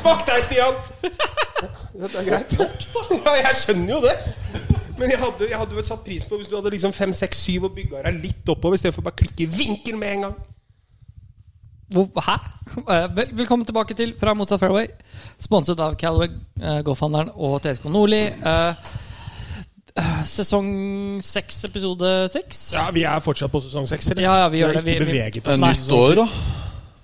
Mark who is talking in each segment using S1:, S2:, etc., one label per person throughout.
S1: Stian. Det er greit. Ja, jeg skjønner jo det. Men jeg hadde, jeg hadde vel satt pris på hvis du hadde liksom 5, 6, 7 og bygga deg litt oppover, istedenfor bare klikke i vinkel med en gang.
S2: Hvor, hæ? Eh, vel- Velkommen tilbake til Fra motsatt fairway. Sponset av Calaway, eh, golfhandleren og TSK Nordli. Eh, eh, Sesong seks, episode seks.
S1: Ja, vi er fortsatt på sesong 6, eller?
S2: Ja, ja, vi gjør
S1: Vi har
S2: det. Vi-
S1: ikke
S2: vi-
S1: beveget
S3: Det er
S1: oss.
S3: nytt år, da.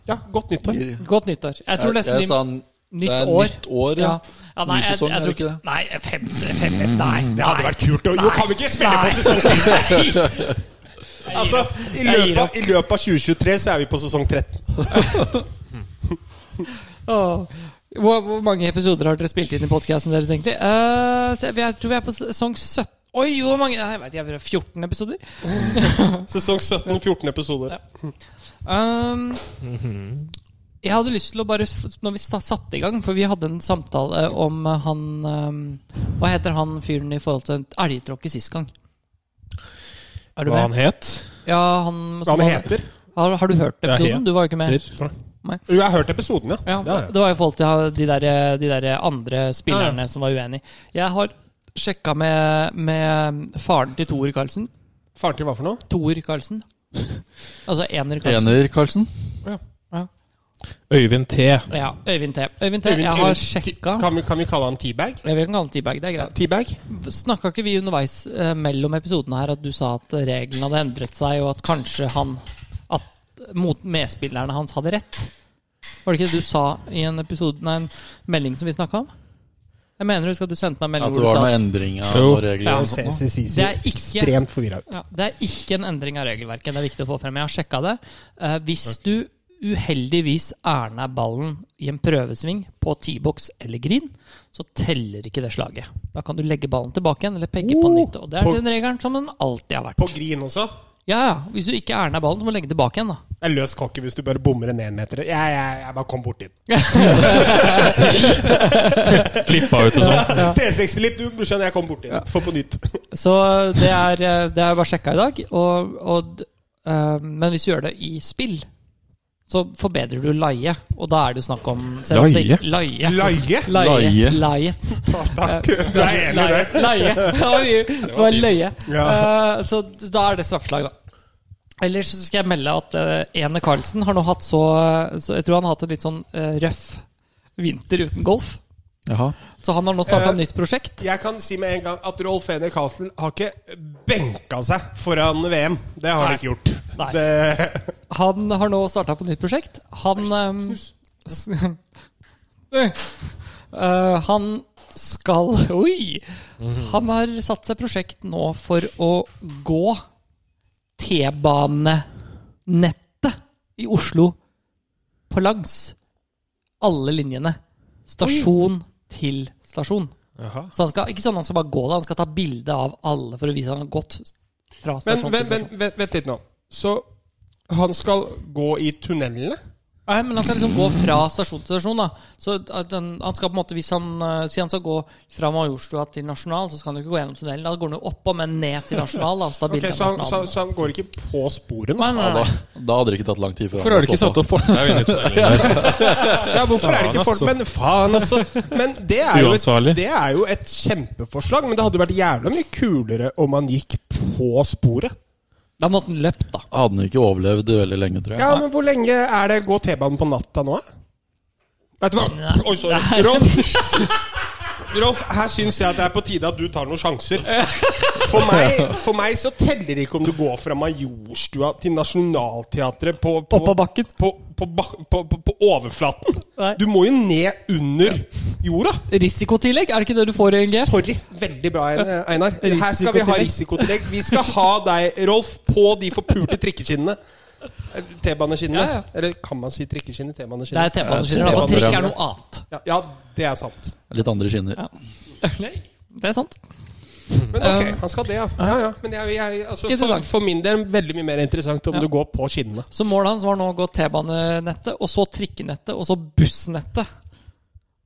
S1: Ja, godt nyttår.
S2: Godt nyttår. Jeg tror
S3: Jeg,
S2: nesten de-
S3: jeg sa n-
S2: nytt
S3: det er
S2: år.
S3: nytt år, ja. Ny sesong, er det ikke det?
S2: Nei, fem, fem, fem, nei,
S1: Det hadde vært kult. å- Jo, kan vi ikke spille
S2: Nei.
S1: på sesong 6? Altså, i
S2: Jeg gir
S1: løpet, av,
S2: opp.
S1: I løpet av 2023 så er vi på sesong 13.
S2: Åh. Hvor, hvor mange episoder har dere spilt inn i podkasten deres, egentlig? Eh, så jeg, jeg tror vi er på sesong 17 Oi, hvor mange? Nei, Jeg vet ikke, jeg vet, 14 episoder?
S1: Sesong 17, 14 episoder.
S2: Um, jeg hadde lyst til å bare f- Når vi sta- satte i gang, for vi hadde en samtale om eh, han um, Hva heter han fyren i forhold til en elgtråkke sist gang? Er du
S4: Hva han
S2: med?
S4: het?
S2: Ja, han,
S1: Hva
S2: som
S1: han
S2: var-
S1: heter?
S2: Har, har du hørt
S4: Ja,
S2: episoden?
S4: helt.
S2: Du var jo ikke med.
S4: Der.
S1: Jo, jeg har hørt episoden, ja.
S2: Ja,
S1: Ja, ja.
S2: Det var i forhold til de der, de der andre spillerne
S4: Ja,
S2: som var uenige. Jeg har sjekka med, med faren til Tor Karlsen.
S1: Faren til hva for noe?
S2: Tor Karlsen. Altså Ener Karlsen.
S3: Ener, Karlsen.
S4: Øyvind T.
S2: Ja, Øyvind T. Øyvind T,
S1: Øyvind-
S2: Jeg har
S1: Øyvind-
S2: sjekka.
S1: Ti- Kan, vi- kan vi kalle han T-bag?
S2: Jeg vil ikke kalle han T-bag, det er greit.
S1: T-bag?
S2: Snakka ikke vi underveis eh, mellom episodene her at du sa at reglene hadde endret seg, og at kanskje han At mot medspillerne hans hadde rett? Var det ikke det du sa i en episode Nei, en melding som vi snakka om? Jeg mener husker at du sendte meg en melding
S3: At det
S2: hvor
S3: var
S2: du sa
S3: noen endring av
S4: Jo.
S3: noen regler. og sånt nå.
S2: Det er ikke-
S1: ekstremt forvirra ut.
S2: Ja, det er ikke en endring av regelverket. Det er viktig å få frem. Jeg har sjekka det. Eh, hvis du uheldigvis erna ballen i en prøvesving på T-box eller green, så teller ikke det slaget. Da kan du legge ballen tilbake igjen eller pegge på
S1: Oh!
S2: nytt. Og det er
S1: På-
S2: den regelen som den alltid har
S1: På
S2: vært.
S1: grin også.
S2: Ja, ja. Hvis du ikke erna ballen, så må du legge tilbake igjen, da.
S1: Det er løs kokke hvis du bare bommer en enmeter. Jeg, jeg, jeg bare kom borti den.
S4: Klippa ut og sånn.
S1: T60 litt, du skjønner, jeg kom borti den. Få på nytt.
S2: Så det er, eh, det er bare sjekka i dag. Og, og, d- eh, men hvis du gjør det i spill, så forbedrer du leie. Og da er det jo snakk om selv om det- Leie.
S1: Laie?
S2: Leie.
S3: Leie.
S2: Leiet.
S1: Takk. Du er enig i det?
S2: Leie. Leie. Det var løye.
S1: Ja.
S2: Eh, Så da er det straffeslag, da. Ellers så skal jeg melde at eh, Ene Karlsen har nå hatt så, så Jeg tror han har hatt en litt sånn eh, røff vinter uten golf.
S3: Jaha.
S2: Så han har nå starta
S1: Eh,
S2: nytt prosjekt.
S1: Jeg kan si med en gang at Rolf Ener Karlsen har ikke benka seg foran VM. Det har han
S2: Nei.
S1: ikke gjort.
S2: Nei.
S1: Det,
S2: Han har nå starta på nytt prosjekt. Han ehm, sn- Øh. Eh, han skal Oi! Han har satt seg prosjekt nå for å gå T-banenettet i Oslo på langs. Alle linjene. Stasjon til stasjon. Så han skal, ikke sånn han skal bare gå da, han skal ta bilde av alle for å vise at han har gått fra
S1: men
S2: stasjon til
S1: vent,
S2: stasjon.
S1: vent, vent, vent litt nå. Så han skal gå i tunnelene?
S2: Nei, men han skal liksom gå fra stasjon til stasjon, da. Så at den, han skal på en måte, hvis han eh, sier han skal gå fra Majorstua til Nasjonal, så skal han jo ikke gå gjennom tunnelen. Da går han jo oppå, men ned til Nasjonal. Da, så tar
S1: Ok,
S2: bildet
S1: så,
S2: av
S1: han, så,
S2: Nasjonal.
S1: så han går ikke på sporet nå?
S2: Nei, nei,
S3: Da,
S2: nei.
S3: da hadde det ikke tatt lang tid før
S4: Hvorfor har du ikke satt opp fortau inni tunnelen der?
S1: Ja, hvorfor er det ikke folk
S4: altså.
S1: Men faen, altså! Men det er, jo et,
S4: Uansvarlig.
S1: det er jo et kjempeforslag. Men det hadde jo vært jævla mye kulere om han gikk på sporet.
S2: Da måtte han løpt, da.
S3: Hadde den ikke overlevd veldig lenge, tror jeg.
S1: Ja, men hvor lenge er det gå T-banen på natta nå? eh? Vet du hva? Oi, sorry.
S2: Nei.
S1: Rolf. Rolf, her syns jeg det er på tide at du tar noen sjanser. For meg, for meg så teller det ikke om du går fra Majorstua til Nationaltheatret på, på,
S2: Oppå bakken.
S1: På, på, bak- på, på, på overflaten.
S2: Nei.
S1: Du må jo ned under jorda.
S2: Risikotillegg, er det ikke det du får i NG?
S1: Sorry. Veldig bra, Einar. Her skal vi ha
S2: Risikotillegg.
S1: risikotillegg. Vi skal ha deg, Rolf, på de forpulte trikkeskinnene. Eh, T-baneskinnene.
S2: Ja, ja.
S1: Eller kan man si trikkeskinner?
S2: Det
S1: T-baneskinner.
S2: er T-baneskinner. da, For trikk er noe annet.
S1: Ja, ja, det er sant.
S3: Litt andre skinner.
S2: Det er sant.
S1: Men ok, han skal det, ja. ja, ja. Men jeg, jeg, altså, for,
S2: Interessant.
S1: for min del veldig mye mer interessant om du går på skinnene.
S2: Så målet hans var nå å gå T-banenettet, og så trikkenettet, og så bussnettet.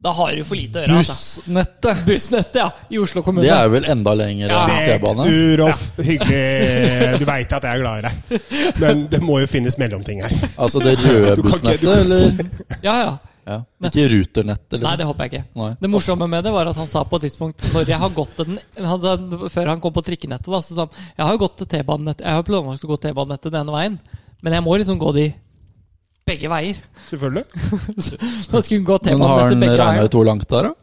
S2: Da har du for lite å gjøre. Altså.
S3: Bussnettet!
S2: Bussnettet, ja. I Oslo kommune.
S3: Det er vel enda lenger
S2: Ja.
S3: enn T-bane.
S1: Eh, Rolf, hyggelig. Du veit at jeg er glad i deg. Men det må jo finnes mellomting her.
S3: Altså det røde
S1: Du kan ikke-
S3: bussnettet,
S1: du kan-
S3: eller?
S2: Ja, ja.
S3: Ja. Ikke ruternettet,
S2: Nei,
S3: liksom.
S2: det håper jeg ikke.
S3: Nei.
S2: Det morsomme med det var at han sa på et tidspunkt Når jeg har gått til den han sa, Før han kom på trikkenettet, da, så sa han Jeg har jo gått til T-banenettet Jeg har planlagt å gå T-banenettet den ene veien, men jeg må liksom gå de begge veier.
S1: Selvfølgelig.
S2: Da skulle han gå
S3: Men har
S2: T-banenettet
S3: han
S2: begge
S3: regna
S2: veier.
S3: ut hvor langt det er, da?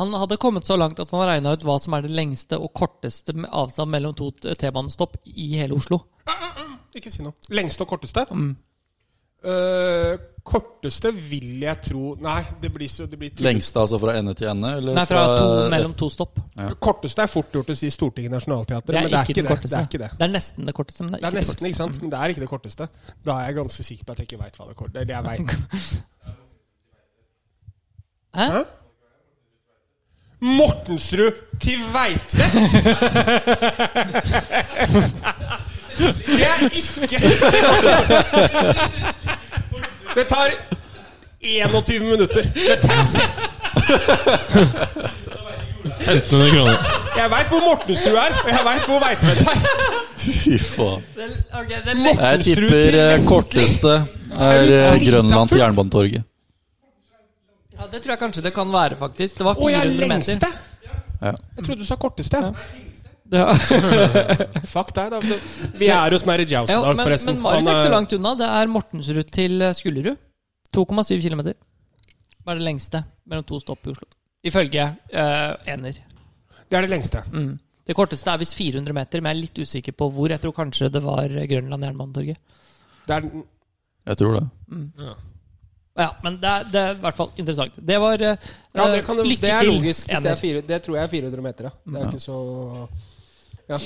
S2: Han hadde kommet så langt at han regna ut hva som er det lengste og korteste med avstand mellom to T-banestopp i hele Oslo.
S1: Ikke si noe. Lengste og korteste? Eh, korteste vil jeg tro Nei, det blir så det blir typisk.
S3: Lengste, altså fra ende til ende? Eller
S2: Nei, fra to, mellom to stopp.
S1: Det korteste er fort gjort å si Stortinget Nationaltheatret, men det er ikke
S2: den
S1: det. det er ikke det.
S2: Det er nesten det korteste, men det er,
S1: Det er
S2: ikke
S1: nesten,
S2: det
S1: ikke sant? Men det er ikke det korteste. Da er jeg ganske sikker på at jeg ikke veit hva det korteste er. Det jeg vet.
S2: Hæ?
S1: Hæ? Mortensrud til Veitvet! Det er ikke Det tar 21 minutter. Det tar seg-
S4: 1500 kroner.
S1: Jeg veit hvor Mortensrud er, og jeg veit hvor Veitvet er.
S3: Fy faen.
S2: korteste. Ok, det er
S1: Mortensrud
S3: Jeg
S1: til
S3: tipper eh,
S1: Vestli.
S3: korteste er eh, Grønland til Jernbanetorget.
S2: Ja, Det tror jeg kanskje det kan være, faktisk. Det var
S1: Å, jeg
S2: 400
S1: er
S2: meter.
S1: lengste!
S3: Ja.
S1: Jeg trodde du sa korteste.
S2: Det er-
S1: Fuck deg, da. Vi er hos Mary Jouse i
S2: ja,
S1: dag,
S2: men,
S1: forresten.
S2: men Marius er
S1: Han
S2: ikke
S1: er-
S2: så langt unna. Det er Mortensrud til eh, Skullerud. 2,7 km. Det er det lengste mellom to stopp i Oslo. Ifølge eh, ener.
S1: Det er det lengste.
S2: Mm. Det korteste er visst 400 meter, men jeg er litt usikker på hvor. Jeg tror kanskje det var Grønland Jernbanetorget.
S1: Det er,
S3: Jeg tror det.
S2: Ja, men det er, det er i hvert fall interessant. Det var eh,
S1: ja, det, kan,
S2: Lykke
S1: det er
S2: til,
S1: logisk. Hvis det, er
S2: ener.
S1: fire, det tror jeg er 400 meter. Ja. Det er ikke så ja.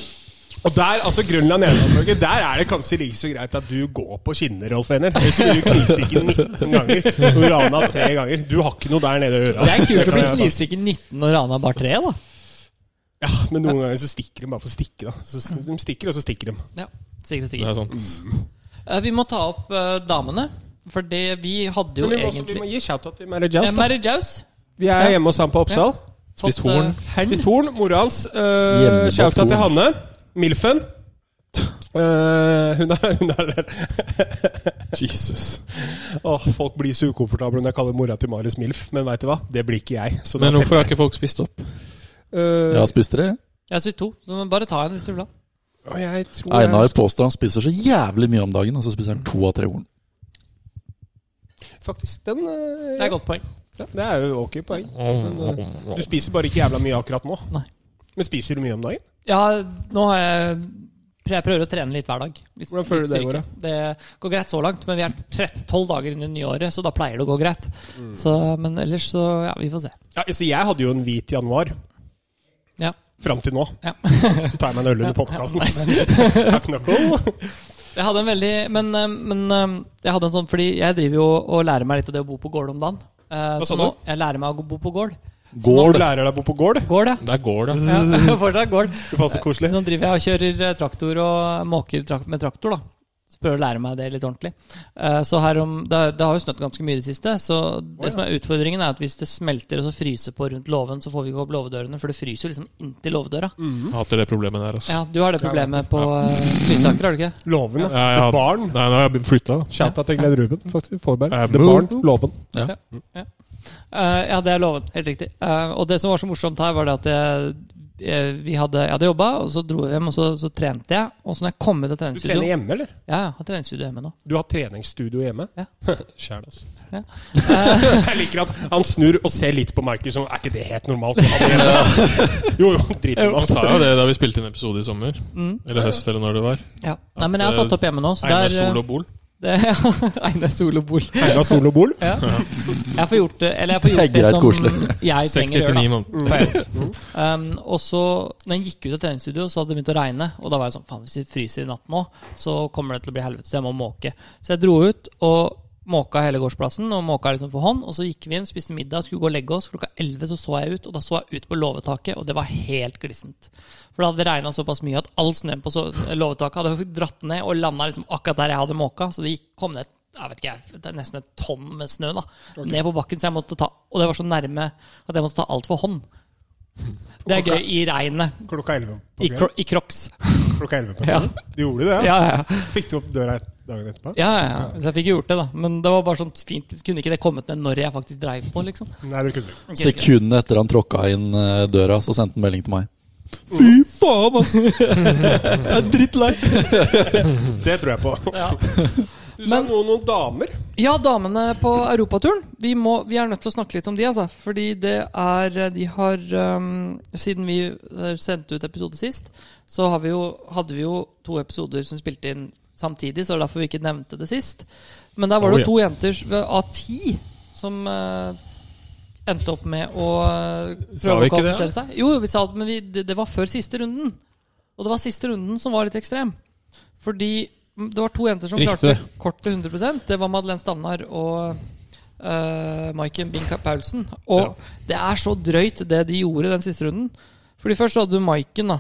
S1: Og der, altså Grønland Jernbanetorget, der er det kanskje like så greit at du går på skinner, Rolf Ener. Ellers blir du knivstukket 19 ganger og rana tre ganger. Du har ikke noe der nede i øra.
S2: Det er kult å
S1: kan
S2: bli
S1: jeg ta.
S2: knivstukket 19 og rana bare 3, da.
S1: Ja, men noen ganger så stikker de bare for å stikke. Da. Så s- de stikker, og så stikker de.
S2: Ja, sikkert,
S4: Det
S2: sikkert.
S4: er sant.
S2: Eh, Vi må ta opp eh, damene. For det vi hadde jo
S1: Men vi må, også, vi må
S2: egentlig
S1: gi shout-out til Mary Jouse. da.
S2: Eh, Mary Jaus.
S1: Vi er hjemme hos han på Oppsal.
S4: Spist
S2: fått, eh,
S4: horn.
S2: hen.
S1: Spist horn, mora hans. Uh,
S3: Hjemmebakt
S1: Shouta til
S3: horn.
S1: Hanne. Milfen. Eh, hun er, hun er der.
S4: Jesus.
S1: Åh, folk blir så ukomfortable når jeg kaller mora til Marius Milf, men veit du hva? Det blir ikke jeg. Så da Øh,
S4: Men hvorfor
S1: teller
S4: har ikke folk spist opp?
S1: jeg.
S3: Jeg har spist tre.
S2: Jeg har spist to, så men bare ta en hvis du vil ha.
S1: Eh, og jeg tror
S3: Einar
S1: jeg
S3: påstår han spiser så jævlig mye om dagen, og så spiser han to av tre horn.
S1: Faktisk, den eh,
S2: Det er et godt poeng.
S1: ja, det er jo ok poeng. øh, Du
S4: Jeg
S1: spiser bare ikke jævla mye akkurat nå.
S2: Nei.
S1: Men spiser du mye om dagen?
S2: Ja, nå har jeg Jeg prøver å trene litt hver dag. Litt-
S1: Hvordan føler du det
S2: litt
S1: går, da?
S2: styrke. Det går greit så langt, men vi er 13 12 dager inn i det nye året, så da pleier det å gå greit.
S1: Mm.
S2: Så, men ellers så Ja, vi får se.
S1: Ja, altså, jeg hadde jo en hvit januar.
S2: Ja.
S1: Fram til nå.
S2: Ja.
S1: Så tar jeg meg en øl under podkasten.
S2: Jeg hadde en veldig Men, eh, men eh, jeg hadde en sånn Fordi jeg driver jo og lærer meg litt av det å bo på gård om dagen. Eh,
S1: Hva sa
S2: så nå, jeg lærer meg å bo på gård.
S1: Gård.
S3: Gård.
S1: Lærer deg å bo på gård.
S2: Gård, ja.
S4: Der går det.
S2: ja. Fortsatt gård.
S1: Det passer koselig.
S2: Så nå driver jeg og kjører eh, traktor og måker trak med traktor, da. Så prøver jeg å lære meg det litt ordentlig. Eh, Så her om, det, det har jo snødd ganske mye i det siste, så det som er utfordringen, er at hvis det smelter og så fryser på rundt låven, så får vi ikke opp låvedørene, for det fryser jo liksom inntil låvedøra.
S4: Jeg Hater det problemet der, altså.
S2: Ja, du har det problemet på eh, Lysaker, har du ikke?
S1: Låven,
S4: Ja, jeg
S1: ja.
S4: har-
S1: The Barn.
S4: Nei, nå har jeg flytta.
S1: Shout-out til Glenn Ruben, faktisk. Forberg.
S4: Eh,
S1: The
S4: Moon.
S1: Barn, Låven.
S2: Eh, ja, det er loven. Helt riktig. Eh, og det som var så morsomt her, var det at jeg, eh, vi hadde, jeg hadde jobba, og så dro jeg hjem, og så, så trente jeg. Og så når jeg kom ut
S1: Du
S2: av
S1: trener
S2: treningsstudio Ja,
S1: hjemme, eller?
S2: jeg har treningsstudio hjemme nå.
S1: Du har treningsstudio hjemme?
S2: Ja.
S1: Sjæl, altså.
S2: Ja.
S1: jeg liker at han snur og ser litt på Michael som Er ikke det helt normalt? Han er hjemme. jo, jo, drit i
S4: Han
S1: det.
S4: sa jo det da vi spilte inn episode i sommer. Eller høst, eller når det var.
S2: Ja. Nei, men jeg har
S4: At, eh,
S2: satt opp hjemme nå, så
S4: Einar
S2: der
S4: Sol og Bol.
S2: Det, Einar Sol og Bol.
S1: Tegna sol og bol.
S2: Ja. Jeg får gjort det, eller jeg får gjort
S3: Det
S2: det,
S3: er greit
S2: som
S3: koselig.
S2: jeg
S4: 60
S2: trenger å
S4: til 9
S2: gjøre.
S4: måneder.
S2: Da. Um, og så, når jeg gikk ut av treningsstudio, så hadde det begynt å regne. Og da var jeg sånn Faen, hvis det fryser i natt nå, så kommer det til å bli helvete, så jeg må måke. Så jeg dro ut og måka hele gårdsplassen, og måka liksom for hånd. Og så gikk vi inn, spiste middag, skulle gå og legge oss. Klokka 11 så så jeg ut, og da så jeg ut på låvetaket, og det var helt glissent. For da hadde det regna såpass mye at all snøen på så- låvetaket hadde dratt ned og landa liksom akkurat der jeg hadde måka. Så det gikk, kom ned jeg vet ikke, jeg, det er nesten et tonn med snø da, ned på bakken. Så jeg måtte ta, og det var så nærme at jeg måtte ta alt for hånd. Det er gøy i regnet.
S1: Klokka 11 på
S2: I,
S1: kvelden.
S2: kro, i crocs.
S1: Klokka 11 på
S2: Ja.
S1: kvelden. Du gjorde det?
S2: Ja, ja, ja.
S1: Fikk du opp døra dagen etterpå?
S2: Ja, ja, ja. Så jeg fikk gjort det, da. Men det var bare sånn fint. Kunne ikke det kommet ned når jeg faktisk dreiv på, liksom?
S1: Nei, det kunne du ikke.
S3: Sekundene etter han tråkka inn eh, døra, så sendte han melding til meg.
S1: Fy faen, ass! Jeg er drittlei. Det tror jeg på. Du sa
S2: Men-
S1: noe om noen damer.
S2: Ja, damene på europaturen. Vi, må, vi er nødt til å snakke litt om de, altså. Fordi det er De har um, Siden vi eh, sendte ut episode sist, så har vi jo, hadde vi jo to episoder som spilte inn samtidig, så det er derfor vi ikke nevnte det sist. Men der var det
S4: Oh,
S2: jo to jenter s- av ti som eh, endte opp med å eh,
S4: Sa
S2: prøve å
S4: vi ikke det?
S2: kvalifisere seg. Jo, jo, vi sa det, men vi, det, det var før siste runden. Og det var siste runden som var litt ekstrem. Fordi mm, det var to jenter som
S4: Riktig.
S2: klarte kort til 100 Det var Madeleine Stavnar og uh, Maiken Bing Paulsen. Og
S4: Ja.
S2: det er så drøyt, det de gjorde den siste runden. Fordi først så hadde du Maiken, da.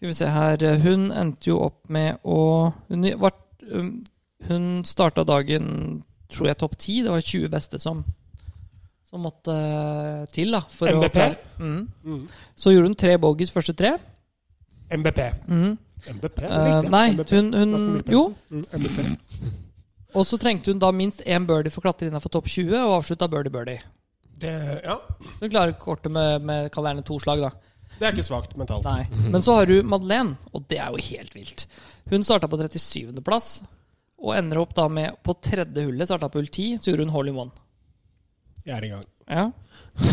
S2: Skal vi se her. Hun endte jo opp med å Hun, var, um, hun starta dagen, tror jeg, topp ti. Det var de 20 beste som som måtte eh, til, da. For
S1: MBP?
S2: Å, mm. Så gjorde hun tre bogies første tre.
S1: MBP.
S2: Mm.
S1: MBP? det er
S2: Eh,
S1: riktig.
S2: nei,
S1: MBP.
S2: hun, hun
S1: Martin Michelsen.
S2: Jo.
S1: Mm, MBP.
S2: Og så trengte hun da minst én birdie for å klatre innenfor topp 20, og avslutta birdie-birdie.
S1: Det, ja.
S2: Så hun klarer kortet med, med kall gjerne to slag, da.
S1: det er ikke svakt mentalt.
S2: Nei. Men så har du Madeleine, og det er jo helt vilt. Hun starta på 37.-plass, og ender opp da med på tredje hullet, starta på hull 10, så gjorde hun hole in one.
S1: Jeg er i gang.
S2: Ja.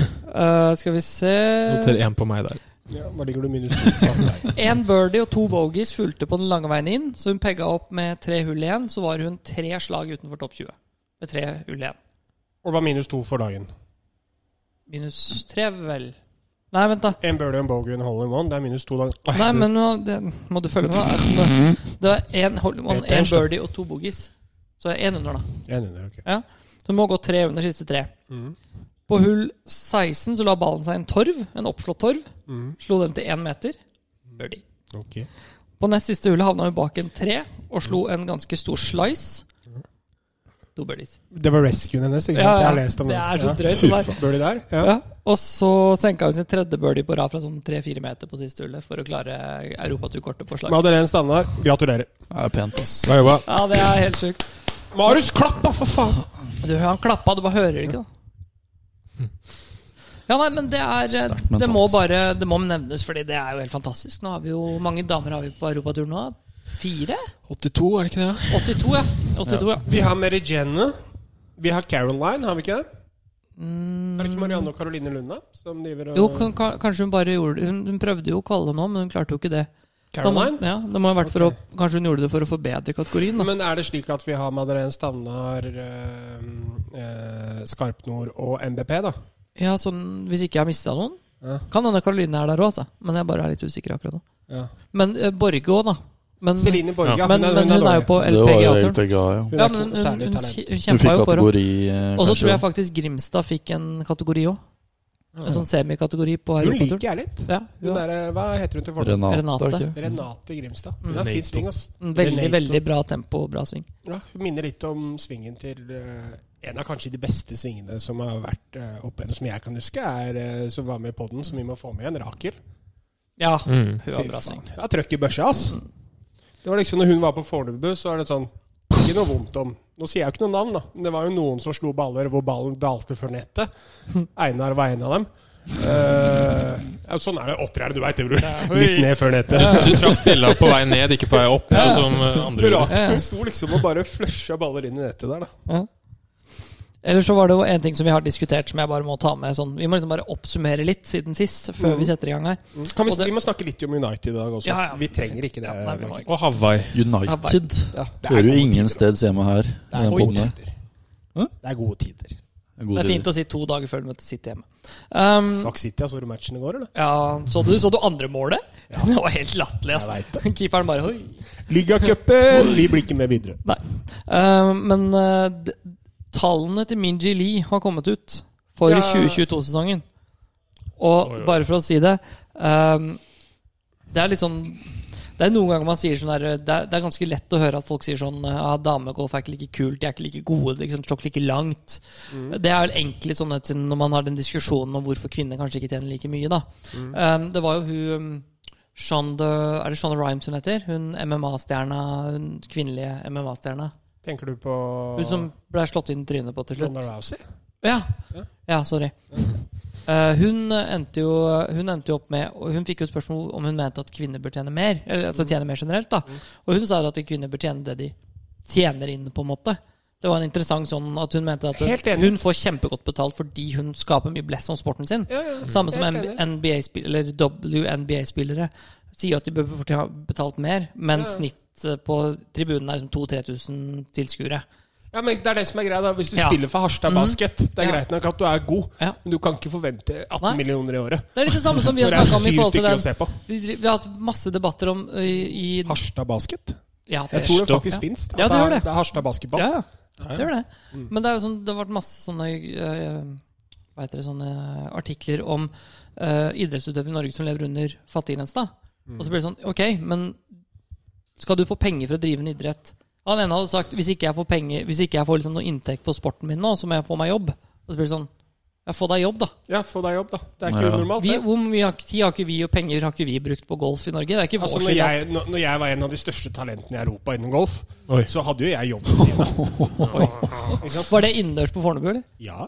S2: Eh, skal vi se
S4: Noter én på meg der.
S1: Ja, hva ligger du minus to bak deg?
S2: Én birdie og to bogies fulgte på den lange veien inn, så hun pegga opp med tre hull igjen. Så var hun tre slag utenfor topp 20. Med tre hull igjen.
S1: Og var minus to for dagen.
S2: Minus tre, vel. Nei, vent, da.
S1: En birdie, en bogey, en hole in one. Det er minus to dager.
S2: Nei, men nå det, må du følge med. da. Altså, nå- Det er én Hollywood,
S1: Det er
S2: én
S1: tirsdag.
S2: birdie og to boogies. Så én under, da.
S1: Jeg er under, ok.
S2: Så du må gå tre under siste tre.
S1: Mhm.
S2: På hull 16 så la ballen seg en torv, en oppslått torv.
S1: Mhm.
S2: Slo den til én meter. Birdie.
S1: Ok.
S2: På nest siste hullet havna hun bak en tre og slo en ganske stor slice. To birdies.
S1: Det var rescuen hennes, ikke sant?
S2: Ja, ja.
S1: Jeg har lest om
S2: Det er så drøyt. det
S4: Fy
S2: der.
S4: faen.
S1: Birdie der? Ja.
S2: Ja. Og så senka hun sin tredje birdie på rad fra sånn tre-fire meter på siste hullet for å klare europaturkortet på slag.
S1: Madeleine Standard, gratulerer.
S3: Det er pent, ass.
S4: Bra jobba.
S2: Ja, det er helt sjukt.
S1: Marius, klapp da, for faen!
S2: Du, han klappa, du bare hører det ikke, da. Ja, nei, men det er eh,
S3: Sterkt mentalt.
S2: Det må bare Det må nevnes, fordi det er jo helt fantastisk. Nå har vi jo Hvor mange damer har vi på europatur nå? Fire?
S4: 82, er det ikke det?
S2: 82, ja. 82, ja.
S1: Vi har Mary Jenna. Vi har Caroline, har vi ikke det? Er det ikke Marianne og Caroline Lunda som driver eh, og
S2: Mm. Jo, kan- kan- kanskje hun bare gjorde Hun, hun prøvde jo å kalle nå, men hun klarte jo ikke det. Da må-
S1: Caroline?
S2: Ja, det må ha vært for å Kanskje hun gjorde det for å forbedre kategorien, da.
S1: Men er det slik at vi har Madeleine Standard, eh, eh, Skarpnord og MBP, da?
S2: Ja, sånn Hvis ikke jeg har mista noen.
S1: Ja.
S2: Kan hende Karoline er der òg, altså. Men jeg bare er litt usikker akkurat nå.
S1: Ja.
S2: Men eh, Borge òg, da. Men,
S1: Celine Borge,
S4: Ja.
S1: ja.
S2: men, men hun er jo på
S3: Det var jo
S2: LPGA-turen.
S3: LPGA, ja.
S1: Hun
S2: Ja,
S1: er
S2: men
S1: ikke
S2: hun,
S1: noe
S2: hun,
S1: særlig
S2: hun,
S1: talent.
S2: hun
S3: Du
S2: kjempa jo for
S3: fikk
S2: henne.
S3: kategori, eh,
S2: Og så tror jeg
S3: kanskje.
S2: faktisk Grimstad fikk en kategori òg. En sånn semikategori på
S1: Hun liker
S2: Europaturen.
S1: jeg litt.
S2: Ja,
S1: Hun
S2: hun er
S1: der, eh, hva heter hun til fornavn?
S3: Renate,
S2: Renate.
S3: er det ikke?
S1: Renate Grimstad. Hun
S4: Mm.
S1: har fin
S4: Renate.
S1: sving, ass.
S2: en veldig
S1: Renate.
S2: veldig bra tempo og bra sving.
S1: Ja, hun minner litt om svingen til eh, en av kanskje de beste svingene som har vært eh, opp igjennom, som jeg kan huske, er, eh, som var med i poden, som vi må få med igjen, Rakel.
S2: Ja,
S4: Mm.
S2: hun har bra sving.
S1: Det er trøkk i børsa, ass.
S2: Mm.
S1: Det var liksom når hun var på Fornebu, så er det sånn Ikke noe vondt om Nå sier jeg jo ikke noe navn, da, men det var jo noen som slo baller hvor ballen dalte før nettet. Einar var en av dem. Eh, ja, sånn er det. Åtter er det, du veit det, bror. Litt ned før nettet.
S4: Du traff bjella på vei ned, ikke på vei opp, sånn som eh, andre gjorde.
S2: Ja, ja.
S1: Rakel sto liksom og bare flusha baller inn i nettet der, da.
S2: Ja. Eller så var det jo en ting som vi har diskutert, som jeg bare må ta med. Sånn. Vi må liksom bare oppsummere litt siden sist, før Mm. vi setter i gang her.
S1: Kan vi,
S2: Og det-
S1: vi må snakke litt om United i dag også.
S2: Ja, ja.
S1: Vi trenger ikke det.
S2: Ja, nei, vi må ikke.
S4: Og Hawaii.
S3: United.
S1: Ja, det er
S3: Hører jo
S1: gode
S3: ingen
S1: tider,
S3: steds hjemme
S1: da.
S3: her.
S1: Det er
S3: hjemme på
S1: gode
S3: Odne.
S1: tider.
S3: Hæ?
S1: Det er gode tider.
S3: God
S2: Det er
S3: tid.
S2: fint å si to dager før du møter City hjemme. Um,
S1: Fuck City, ja, så du matchen i går, eller?
S2: ja, så, du, så du andre målet? Det var helt latterlig,
S1: Jeg vet
S2: altså. Keeperen bare Oi.
S1: Ligacupen! Vi blir ikke med videre.
S2: Nei. Eh, men eh, d- tallene til Minji Lee har kommet ut for
S1: Ja.
S2: 2022-sesongen. Og
S4: Oi, oi.
S2: bare for å si det eh, Det er litt sånn Det er noen ganger man sier sånn der, det, er, det er ganske lett å høre at folk sier sånn eh, ah, Damegolf er ikke like kult, de er ikke like gode, de liksom, slår ikke like langt. Det er vel egentlig sånn at når man har den diskusjonen om hvorfor kvinner kanskje ikke tjener like mye, da. Eh, det var jo hun um, Shonda, er det Shonda Rhimes hun heter? Hun MMA-stjerna, hun kvinnelige MMA-stjerna.
S1: Tenker du på
S2: Hun som ble slått inn i trynet på til slutt.
S1: Ronda Rousey?
S2: Ja,
S1: Ja.
S2: ja sorry. Eh, hun, endte jo, hun endte jo opp med og Hun fikk jo et spørsmål om hun mente at kvinner bør tjene mer. Eller, altså tjene mer generelt da
S1: Mm.
S2: Og hun sa at kvinner bør tjene det de tjener inn, på en måte. Det var en interessant sånn at Hun mente at
S1: Helt enig.
S2: hun får kjempegodt betalt fordi hun skaper mye bless om sporten sin.
S1: Ja, ja.
S2: Samme som
S1: Helt enig.
S2: NBA-spillere eller WNBA-spillere sier jo at de bør få ha betalt mer, men
S1: Ja.
S2: snitt eh, på tribunen er liksom 2000-3000 tilskuere.
S1: Ja, men det er det som er greia. da Hvis du
S2: Ja. Mm.
S1: spiller for Harstad basket, det er
S2: Ja.
S1: greit nok at du er god,
S2: Ja.
S1: men du kan ikke forvente 18
S2: Nei.
S1: millioner i året.
S2: Det er litt det samme som vi har
S1: Når det er
S2: snakka om i
S1: syv
S2: forhold til
S1: stykker å
S2: den
S1: se på.
S2: Vi, dri- vi har hatt masse debatter om ø, i, i
S1: Harstad basket?
S2: ja,
S1: Jeg tror det
S2: Ja.
S1: faktisk fins.
S2: Ja, det gjør det.
S1: Det er Harstad basketball.
S2: Ja, ja. Det gjør det.
S1: Mm.
S2: Men det, er jo sånn, det har vært masse sånne, ø, hva heter det, sånne artikler om ø, idrettsutøvere i Norge som lever under fattiggrensa.
S1: Mm.
S2: Og så blir det sånn Ok, men skal du få penger for å drive en idrett? Han ene hadde sagt hvis ikke jeg får, penger, hvis ikke jeg får liksom noe inntekt på sporten min nå, så må jeg få meg jobb. Og så blir det sånn Ja, få deg jobb, da.
S1: Ja, få deg jobb, da. Det er ikke
S3: Ja.
S1: unormalt.
S2: Vi,
S1: det.
S2: hvor mye har- tid har ikke vi, og penger har ikke vi brukt på golf i Norge? Det er ikke vår
S1: Altså, når,
S2: skyld. at-
S1: jeg, når når jeg var en av de største talentene i Europa innen golf,
S4: Oi.
S1: så hadde jo jeg jobb ved siden av. Ikke sant?
S2: Var det innendørs på Fornebu, eller?
S1: Ja.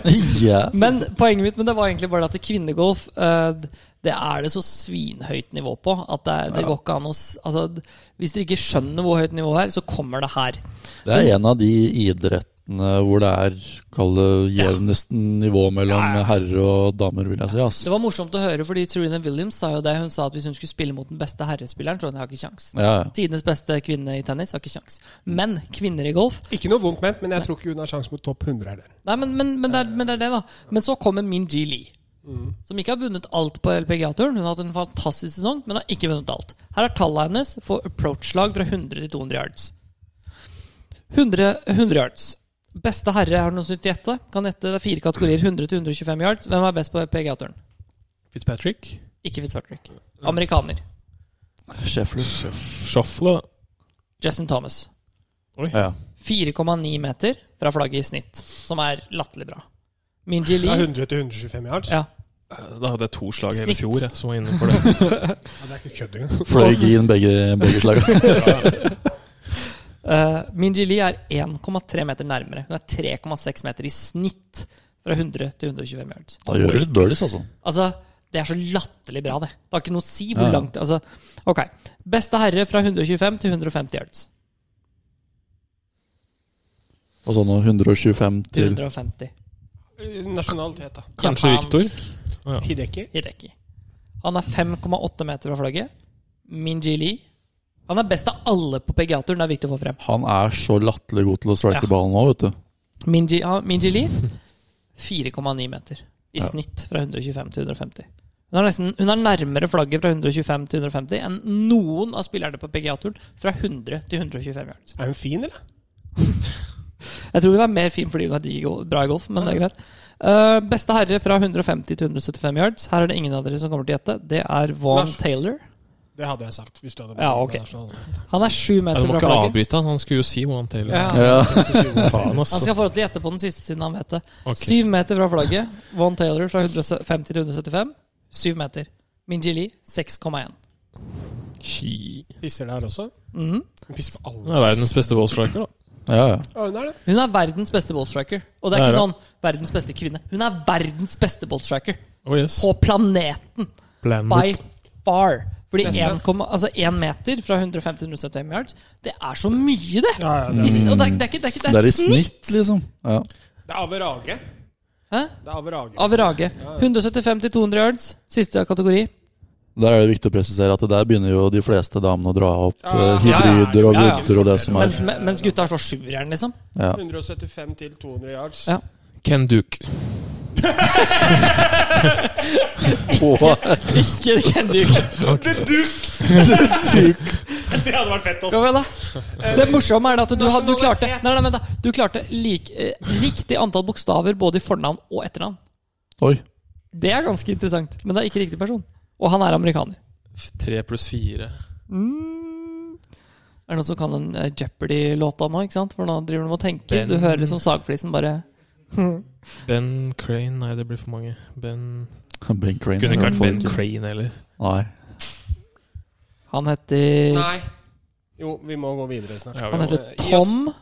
S3: Ja.
S2: Men poenget mitt men det var egentlig bare at kvinnegolf eh, Det er det så svinhøyt nivå på at det, er- det går ikke an å s- altså, d- Hvis dere ikke skjønner hvor høyt nivået er, så kommer det her.
S3: Det er en av de idrettene hvor det er kall det jevnest nivå mellom herrer og damer, vil jeg si. Ass.
S2: Det var morsomt å høre, fordi Serena Williams sa jo det. Hun sa at hvis hun skulle spille mot den beste herrespilleren, så hun har ikke kjangs.
S3: Ja, ja.
S2: Tidenes beste kvinne i tennis har ikke kjangs. Men kvinner i golf
S1: Ikke noe vondt ment, men jeg tror ikke hun har sjanse mot topp 100 heller.
S2: Nei, men, men, men, det er, men det er det, da. Men så kommer Min Ji Lee. Som ikke har vunnet alt på LPGA-turen. Hun har hatt en fantastisk sesong, men har ikke vunnet alt. Her er tallene hennes for approach-lag fra 100 til 200 yards. 100, 100 yards. Beste herre, har du noen som vil gjette? Kan gjette, Det er fire kategorier. 100 til 125 yards. Hvem er best på LPGA-turen?
S4: Fitzpatrick?
S2: Ikke Fitzpatrick. Amerikaner.
S3: Scheffler.
S4: Shuffle, da.
S2: Justin Thomas.
S3: Ja.
S2: 4,9 meter fra flagget i snitt, som er latterlig bra. Min Ji
S1: Fra
S2: Lee
S1: 100 til 125 yards?
S2: ja,
S4: Da hadde jeg to slag hele
S2: Snitt.
S4: fjor jeg, som var inne på det.
S1: Ja, det er ikke kødd engang.
S3: Fløy green begge, begge slaga.
S2: Uh, Minji Lee er 1,3 meter nærmere. Hun er 3,6 meter i snitt fra 100 til 125 yards.
S3: Da gjør du litt birdies, altså.
S2: Altså, det er så latterlig bra, det. Det har ikke noe å si hvor
S3: Ja.
S2: langt altså, Ok. Beste herre fra 125 til 150 yards.
S3: Og så nå 125
S2: Til
S3: til
S2: 150.
S1: Nasjonalitet, da.
S4: Kanskje
S2: Japansk
S4: Victor? Ja.
S1: Hideki.
S2: Hideki. Han er 5,8 meter fra flagget. Minji Lee Han er best av alle på PGA-turen, det er viktig å få frem.
S3: Han er så latterlig god til å strike
S2: Ja.
S3: ballen nå, vet du.
S2: Minji, ja, Minji Lee 4,9 meter i
S3: Ja.
S2: snitt fra 125 til 150. Hun er, nesten, hun er nærmere flagget fra 125 til 150 enn noen av spillerne på PGA-turen fra 100 til 125 yards.
S1: Er hun fin, eller?
S2: Jeg tror hun er mer fin fordi hun er digg og bra i golf, men det er greit. Eh, beste herre fra 150 til 175 yards. Her er det ingen av dere som kommer til å gjette. Det er Vaughn
S1: Lars.
S2: Taylor.
S1: Det hadde jeg sagt. hvis du hadde
S2: Ja, ok. Han er sju
S4: Ja,
S2: meter
S4: du må
S2: fra
S4: ikke
S2: flagget.
S4: avbryte han, han skulle jo si one tail.
S2: Ja.
S3: Ja.
S4: Faen,
S2: Han
S4: altså.
S2: skal få lov til å gjette på den siste siden han vet det.
S4: Ok.
S2: Syv meter fra flagget. Von Taylor fra 150 til 175. Syv meter. Minji Lee 6,1.
S4: Ki-
S1: Pisser der også?
S2: Mhm.
S1: Hun pisser på alle.
S4: Han er verdens beste ballstriker, da.
S3: Ja, ja.
S1: Ja, hun er det.
S2: Hun er verdens beste ballstriker. Og det er ikke
S4: Det er det.
S2: sånn verdens beste kvinne. Hun er verdens beste ballstriker
S4: Oh, yes.
S2: på planeten. By
S4: Planet.
S2: far. Fordi
S1: Beste.
S2: 1, altså 1 meter fra 150 til 175 yards, det er så mye, det!
S1: Ja, ja, det,
S2: I s- Og det er, det er ikke det er, ikke,
S3: Det er i
S2: et snitt!
S3: snitt, liksom. Ja.
S1: er. det er Average.
S2: Hæ?
S1: Det er Average.
S2: Av Rage. 175 til 200 yards, siste kategori.
S3: Der er det viktig å presisere at der begynner jo de fleste damene å dra opp
S1: Ja,
S3: eh,
S1: ja,
S2: ja, ja.
S3: hybrider og
S2: Ja, ja.
S3: votter og det som er.
S2: Mens, mens gutta slår sjueren, liksom.
S3: Ja.
S1: 175 til 200 yards.
S2: Ja.
S4: Ken Duke.
S2: Ikke det kan du ikke.
S1: The Duke! Det hadde vært fett,
S2: Kom
S1: altså.
S2: igjen, da. Det morsomme er at du, hadde- du klarte
S1: Nasjonalitet.
S2: Nei, nei, vent da Du klarte lik, eh, riktig antall bokstaver både i fornavn og etternavn.
S3: Oi.
S2: Det er ganske interessant, men det er ikke riktig person. Og han er amerikaner.
S4: F- Tre pluss
S2: Er
S4: fire.
S2: det noen som kan den eh, Jeopardy-låta nå? ikke sant? For nå driver de og tenker.
S4: Ben-
S2: Du hører liksom sagflisen bare
S4: Ben Crane Nei, det blir for mange. Ben
S3: Ben Crane.
S4: Kunne ikke
S3: er i hvert
S4: vært Ben
S3: fall ikke-
S4: Crane heller.
S3: Nei.
S2: Han heter
S1: Nei. Jo, vi må gå videre snart.
S4: Ja,
S2: Han
S4: vi-
S2: heter Tom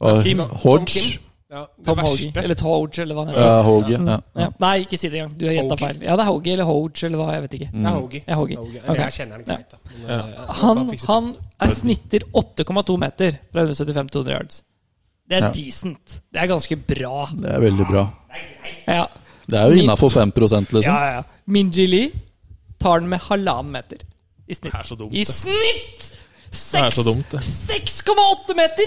S3: Og
S2: Kim.
S3: Hodge.
S1: Ja, det
S2: Tom Hoge.
S1: verste.
S2: Eller Toge, eller hva det
S3: Ja, Hoge. Ja.
S2: Ja. Nei, ikke si det engang. Du har gjetta
S1: Hoge.
S2: feil. Ja, det er Hoge eller Hoge eller hva. Jeg vet ikke.
S1: Det er Hoge.
S2: Ja, Hoge.
S1: Hoge.
S2: Ok.
S1: Eller jeg kjenner han greit, da. Men, eh, jeg må
S2: Han,
S1: bare fikse det.
S2: han er snitter 8,2 meter fra 175 til 100 yards. Det er
S3: Ja.
S2: decent. Det er ganske bra.
S3: Det er veldig bra.
S2: Ja,
S3: Det er jo innafor 5 liksom.
S2: ja, ja. Minji Lee tar den med halvannen meter i snitt.
S4: Det er så dumt,
S2: I
S4: det.
S2: snitt!
S4: Det er
S2: Seks-
S4: så dumt, det.
S2: 6,8 meter!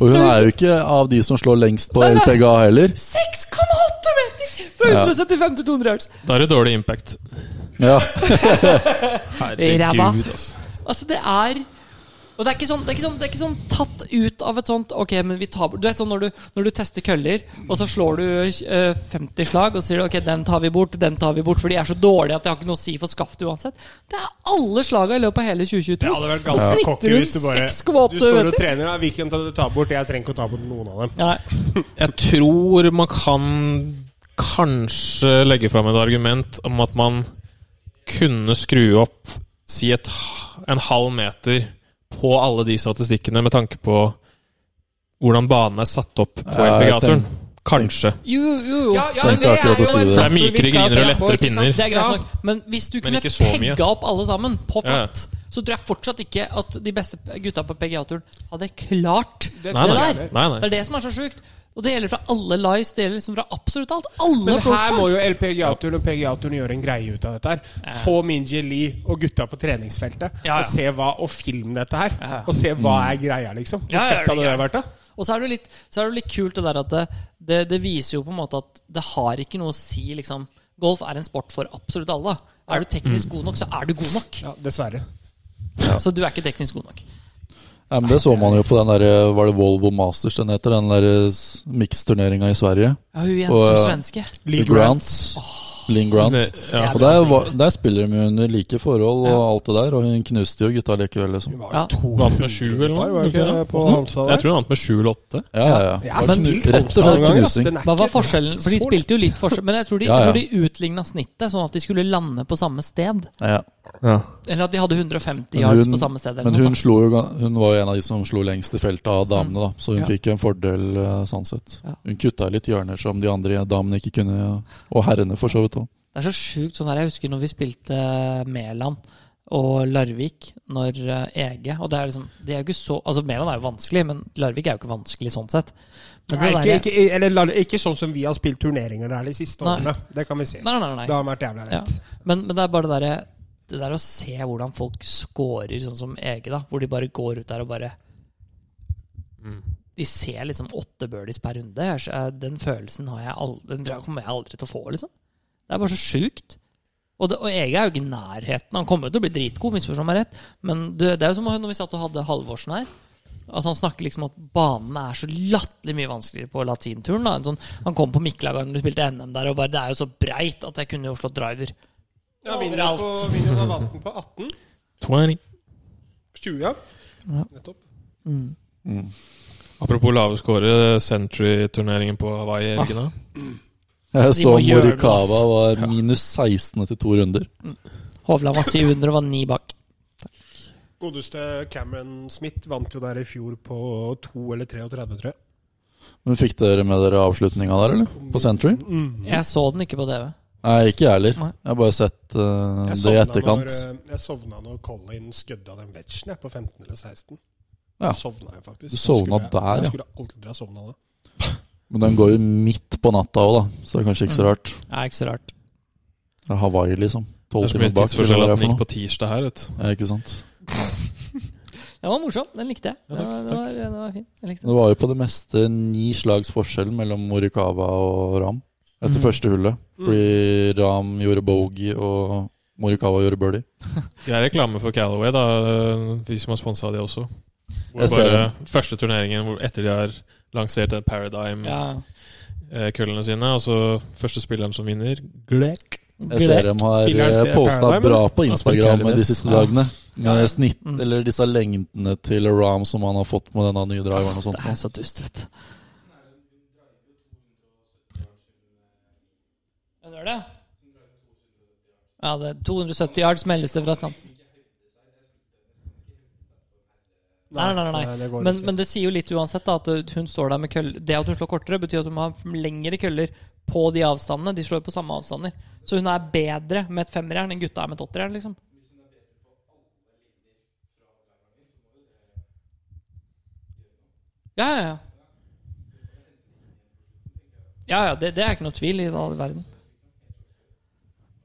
S3: Og hun er jo ikke av de som slår lengst på LPGA heller.
S2: 6,8 meter fra
S3: Ja.
S2: 175 til 200 yards.
S4: Da er det dårlig impact.
S3: Ja.
S2: Ræva.
S4: Herregud, altså.
S2: Altså, det er Og det er ikke sånn, det er ikke sånn, det er ikke sånn tatt ut av et sånt Ok, men vi tar bort Du vet sånn når du, når du tester køller, og så slår du eh, 50 slag, og så sier du ok, den tar vi bort, den tar vi bort, for de er så dårlige at det har ikke noe å si for skaftet uansett. Det er alle slaga i løpet av hele 2022.
S1: Det hadde vært ganske cocky
S2: Så snitter
S1: hvis du bare Du
S2: hun 6,8
S1: står og
S2: meter.
S1: trener, da. Hvilken tar du tar bort? Jeg trenger ikke å ta bort noen av dem.
S2: Nei.
S4: Jeg tror man kan kanskje legge fram et argument om at man kunne skru opp si et, h- en halv meter på alle de statistikkene med tanke på hvordan banen er satt opp på
S3: Ja, jeg
S4: LPG-turen. Kanskje.
S2: Jo, jo, jo.
S3: men Tenkte det akkurat er å jo si en det.
S4: Det er mykere griner og lettere pinner.
S2: Det er greit
S1: Ja.
S2: nok. Men hvis du kunne
S4: ikke så mye.
S2: pegga opp alle sammen på
S4: Ja, ja.
S2: flatt, så tror jeg fortsatt ikke at de beste gutta på PGA-turen hadde klart det,
S4: Nei, nei.
S2: der.
S4: nei,
S2: Det
S4: nei.
S2: er det som er så sjukt. Og det gjelder fra alle lies, det gjelder liksom fra absolutt alt. Alle
S1: Men her
S2: approacher.
S1: må jo LPGA-turen og PGA-turen gjøre en greie ut av dette. her Få Minji Lee og gutta på treningsfeltet
S2: Ja, ja.
S1: og se hva Og film dette her. Og se hva
S3: Mm.
S1: er greia, liksom. Hvor
S2: Ja, ja,
S1: fett hadde det vært, da?
S2: Og så er det jo litt, så er det jo litt kult det der at det, det, det viser jo på en måte at det har ikke noe å si, liksom. Golf er en sport for absolutt alle. Er du teknisk god nok, så er du god nok.
S1: Ja, dessverre.
S2: Så du er ikke teknisk god nok.
S3: ja, men det så man jo på den der, eh, var det Volvo Masters den heter, den der eh, s- miksturneringa i Sverige.
S2: Ja, hun jenta
S3: Og,
S2: og,
S3: ja.
S2: svenske.
S3: Lee Grant. Lynn Grant.
S4: Det- ja.
S3: Og der, var, der spiller de jo under like forhold og alt det der, og hun knuste jo gutta likevel, liksom.
S2: Ja.
S4: Vant med sju eller noe?
S1: Var det ikke det på Halmstad der?
S4: Jeg tror han vant med sju eller åtte.
S3: Ja, ja, ja.
S1: Jeg har
S3: Det var knu-
S1: spilt
S3: Rett og
S1: Halmstad
S3: slett
S1: noen ganger, ass.
S3: knusing.
S1: Den er
S2: Hva var
S1: ikke-
S2: forskjellen? For de
S1: så
S2: spilte jo litt forskjell, men jeg tror de,
S3: Ja,
S2: jeg
S3: ja.
S2: tror de utligna snittet, sånn at de skulle lande på samme sted.
S3: Ja.
S2: Eller at de hadde 150
S3: Men
S2: yards
S3: hun-
S2: på samme sted. Eller
S3: Men
S2: noe, Mm.
S3: hun, slo jo, ga- hun var jo en av de som slo lengst i feltet av damene, da. Så hun
S2: Ja.
S3: fikk jo en fordel eh, sånn sett.
S2: Ja.
S3: Hun kutta litt hjørner som de andre damene ikke kunne, og herrene for så vidt
S2: da.
S3: òg.
S2: Det er så sjukt sånn her. Jeg husker når vi spilte eh, Mæland og Larvik, når eh, Ege Og det er liksom Det er jo ikke så Altså, Mæland er jo vanskelig, men Larvik er jo ikke vanskelig sånn sett. Men
S1: Nei,
S2: det
S1: ikke,
S2: der-
S1: ikke, eller, la- ikke sånn som vi har spilt turneringer der de siste
S2: Nei.
S1: årene. Det kan vi se.
S2: Nei, nei, nei. nei.
S1: Det har vært jævla
S2: Ja.
S1: rett.
S2: Men, men det er bare det derre Det der å se hvordan folk scorer, sånn som Ege, da, hvor de bare går ut der og bare De ser liksom åtte birdies per runde. Jeg, er- den følelsen har jeg aldri, den tror jeg kommer jeg aldri til å få, liksom. Det er bare så sjukt. Og, det, og Ege er jo ikke i nærheten. Han kommer jo til å bli dritgod, misforstå meg rett, men det, det er jo som når vi satt og hadde Halvorsen her. At han snakker liksom at banene er så latterlig mye vanskeligere på latinturen. da En sånn, Han kom på Mikkelagarden når vi spilte NM der, og bare 'Det er jo så breit at jeg kunne jo slått driver'.
S1: Ja, vinner på, vinner på vann på 18.
S4: 20.
S1: 20, ja. Nettopp.
S4: Apropos lave score, Century-turneringen på Hawaii i
S3: Ah.
S4: helgene.
S3: Jeg så
S2: må gjøre noe,
S3: Morikawa var minus 16 etter to runder.
S2: Hovland var 700 og var ni bak.
S1: Godeste Cameron Smith vant jo der i fjor på 2 eller 33, tror jeg.
S3: Men Fikk dere med dere avslutninga der, eller? På Century?
S2: Jeg så den ikke på TV.
S3: Nei, ikke jeg heller.
S2: Nei.
S3: Jeg har bare sett eh,
S1: Jeg
S3: det i
S1: sovna Når,
S3: etterkant.
S1: eh, jeg sovna når Colin skødda den vetsjen jeg, på 15 eller 16.
S3: Ja.
S1: Sovna jeg faktisk.
S3: Du sovna
S1: Jeg skulle-
S3: der, ja.
S1: Jeg skulle aldri ha sovna da.
S3: Men den går jo midt på natta òg, da. Så det er kanskje
S4: Mm.
S3: ikke så rart.
S2: Det er ikke så rart.
S3: Det er Hawaii, liksom.
S4: Det
S3: Tolv
S4: er så
S3: timer
S4: mye
S3: bak.
S4: tidsforskjell
S3: eller
S4: at
S3: hva
S4: den
S3: det er
S4: gikk
S3: for noe.
S4: på tirsdag her, vet du.
S3: Ja, ikke sant.
S2: Den var morsom. Den likte jeg. Den var, den var, den var fin. Jeg likte den.
S3: Det var jo på det meste ni slags forskjell mellom Morikawa og Ram etter
S4: Mm.
S3: første hullet.
S1: Mm.
S3: Fordi Ram gjorde bogey, og Morikawa gjorde birdie.
S4: Det er reklame for Calaway, da, eh, vi som har sponsa de også. Hvor
S3: Jeg ser
S4: bare første turneringen hvor etter de har lansert eh, det
S2: Ja.
S4: Paradigm-køllene sine, og så første spilleren som vinner Glek.
S3: Jeg ser dem
S1: Spilleren
S3: har
S1: spiller
S3: posta
S1: Paradigm,
S3: bra på
S4: Han spiller
S3: Instagram
S4: Careless.
S3: de siste
S4: Ja.
S3: dagene. Med snitt,
S2: Mm.
S3: eller disse lengdene til Ram som han har fått med denne nye driveren og sånt.
S2: Det er så dust, vet du. Den gjør det? Ja, det er 270 yards meldes det fra Tam. Nei, nei, nei.
S1: det går
S2: Men,
S1: ikke.
S2: men det sier jo litt uansett da, at hun står der med køller. Det at hun slår kortere, betyr at hun må ha lengre køller på de avstandene. De slår på samme avstander. Så hun er bedre med et femmerjern enn gutta er med et åtterjern. Liksom. Ja, ja, ja. Ja, ja, det, det er ikke noe tvil i all verden.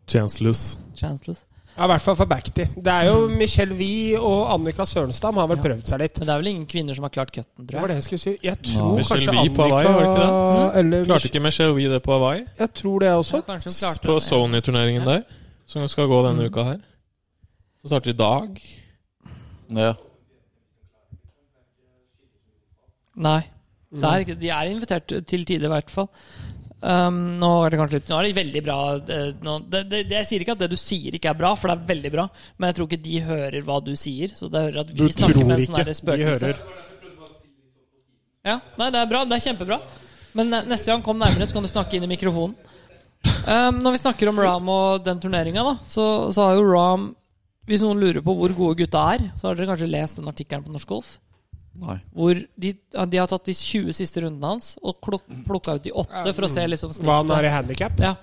S4: Chanceless.
S2: Chanceless.
S1: Ja, I hvert fall for backtid. Det er jo Michelle Wie og Annika Sørenstam har vel
S2: Ja.
S1: prøvd seg litt.
S2: Men det er vel ingen kvinner som har klart cutten,
S1: Det
S2: tror
S1: var
S2: jeg.
S1: det jeg skulle si. Jeg tror
S4: Michelle
S1: kanskje
S4: Wie på
S1: Annika
S4: Hawaii, var det ikke
S1: eller
S4: Klarte ikke Michelle Wee det på Hawaii?
S1: Jeg tror det også.
S2: Ja, kanskje hun Mm. klarte
S4: På
S2: det. Mm.
S4: Sony-turneringen der, som skal gå denne uka her. Så starter i dag.
S3: Ja.
S2: Nei. Det er ikke, de er invitert til tider, i hvert fall. Um, nå er det kanskje litt Nå er det veldig bra eh, nå, det, det, det, Jeg sier ikke at det du sier, ikke er bra, for det er veldig bra. Men jeg tror ikke de hører hva du sier. Så det hører at vi
S1: Du
S2: snakker
S1: tror
S2: med en sånn
S1: ikke
S2: der
S1: de
S2: spøkelse.
S1: hører.
S2: Ja, nei, det er bra. Det er kjempebra. Men ne- neste gang kom nærmere, så kan du snakke inn i mikrofonen. Um, når vi snakker om Ram og den turneringa, da, så, så har jo Ram Hvis noen lurer på hvor gode gutta er, så har dere kanskje lest den artikkelen på Norsk Golf?
S3: Nei.
S2: Hvor de, de har tatt de 20 siste rundene hans og plukka ut de åtte for å se liksom
S1: mm. Hva han har Mm.
S2: snittet.
S1: i handikap.
S2: Ja.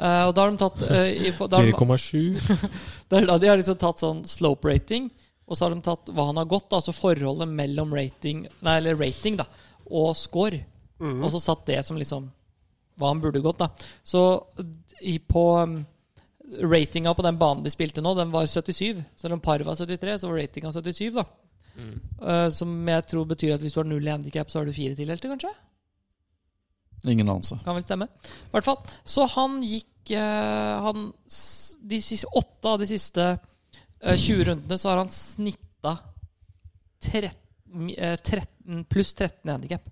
S2: Eh, og da har de tatt eh, i, for- da, har de,
S4: 4,7.
S2: det er da de har liksom tatt sånn slope rating, og så har de tatt hva han har gått, altså forholdet mellom rating, nei, eller rating da, og score. Og så satt det som liksom hva han burde gått, da. Så i, på um, ratinga på den banen de spilte nå, den var 77. Selv om par var 73, så var ratinga 77, da. Eh, som jeg tror betyr at hvis du har null i handikap, så har du fire tildelte, kanskje?
S3: Ingen anelse.
S2: Kan vel stemme. I hvert fall. Så han gikk eh, han, s- De siste, åtte av de siste eh, 20 rundene så har han snitta 13, eh, 13 pluss 13 i handikap.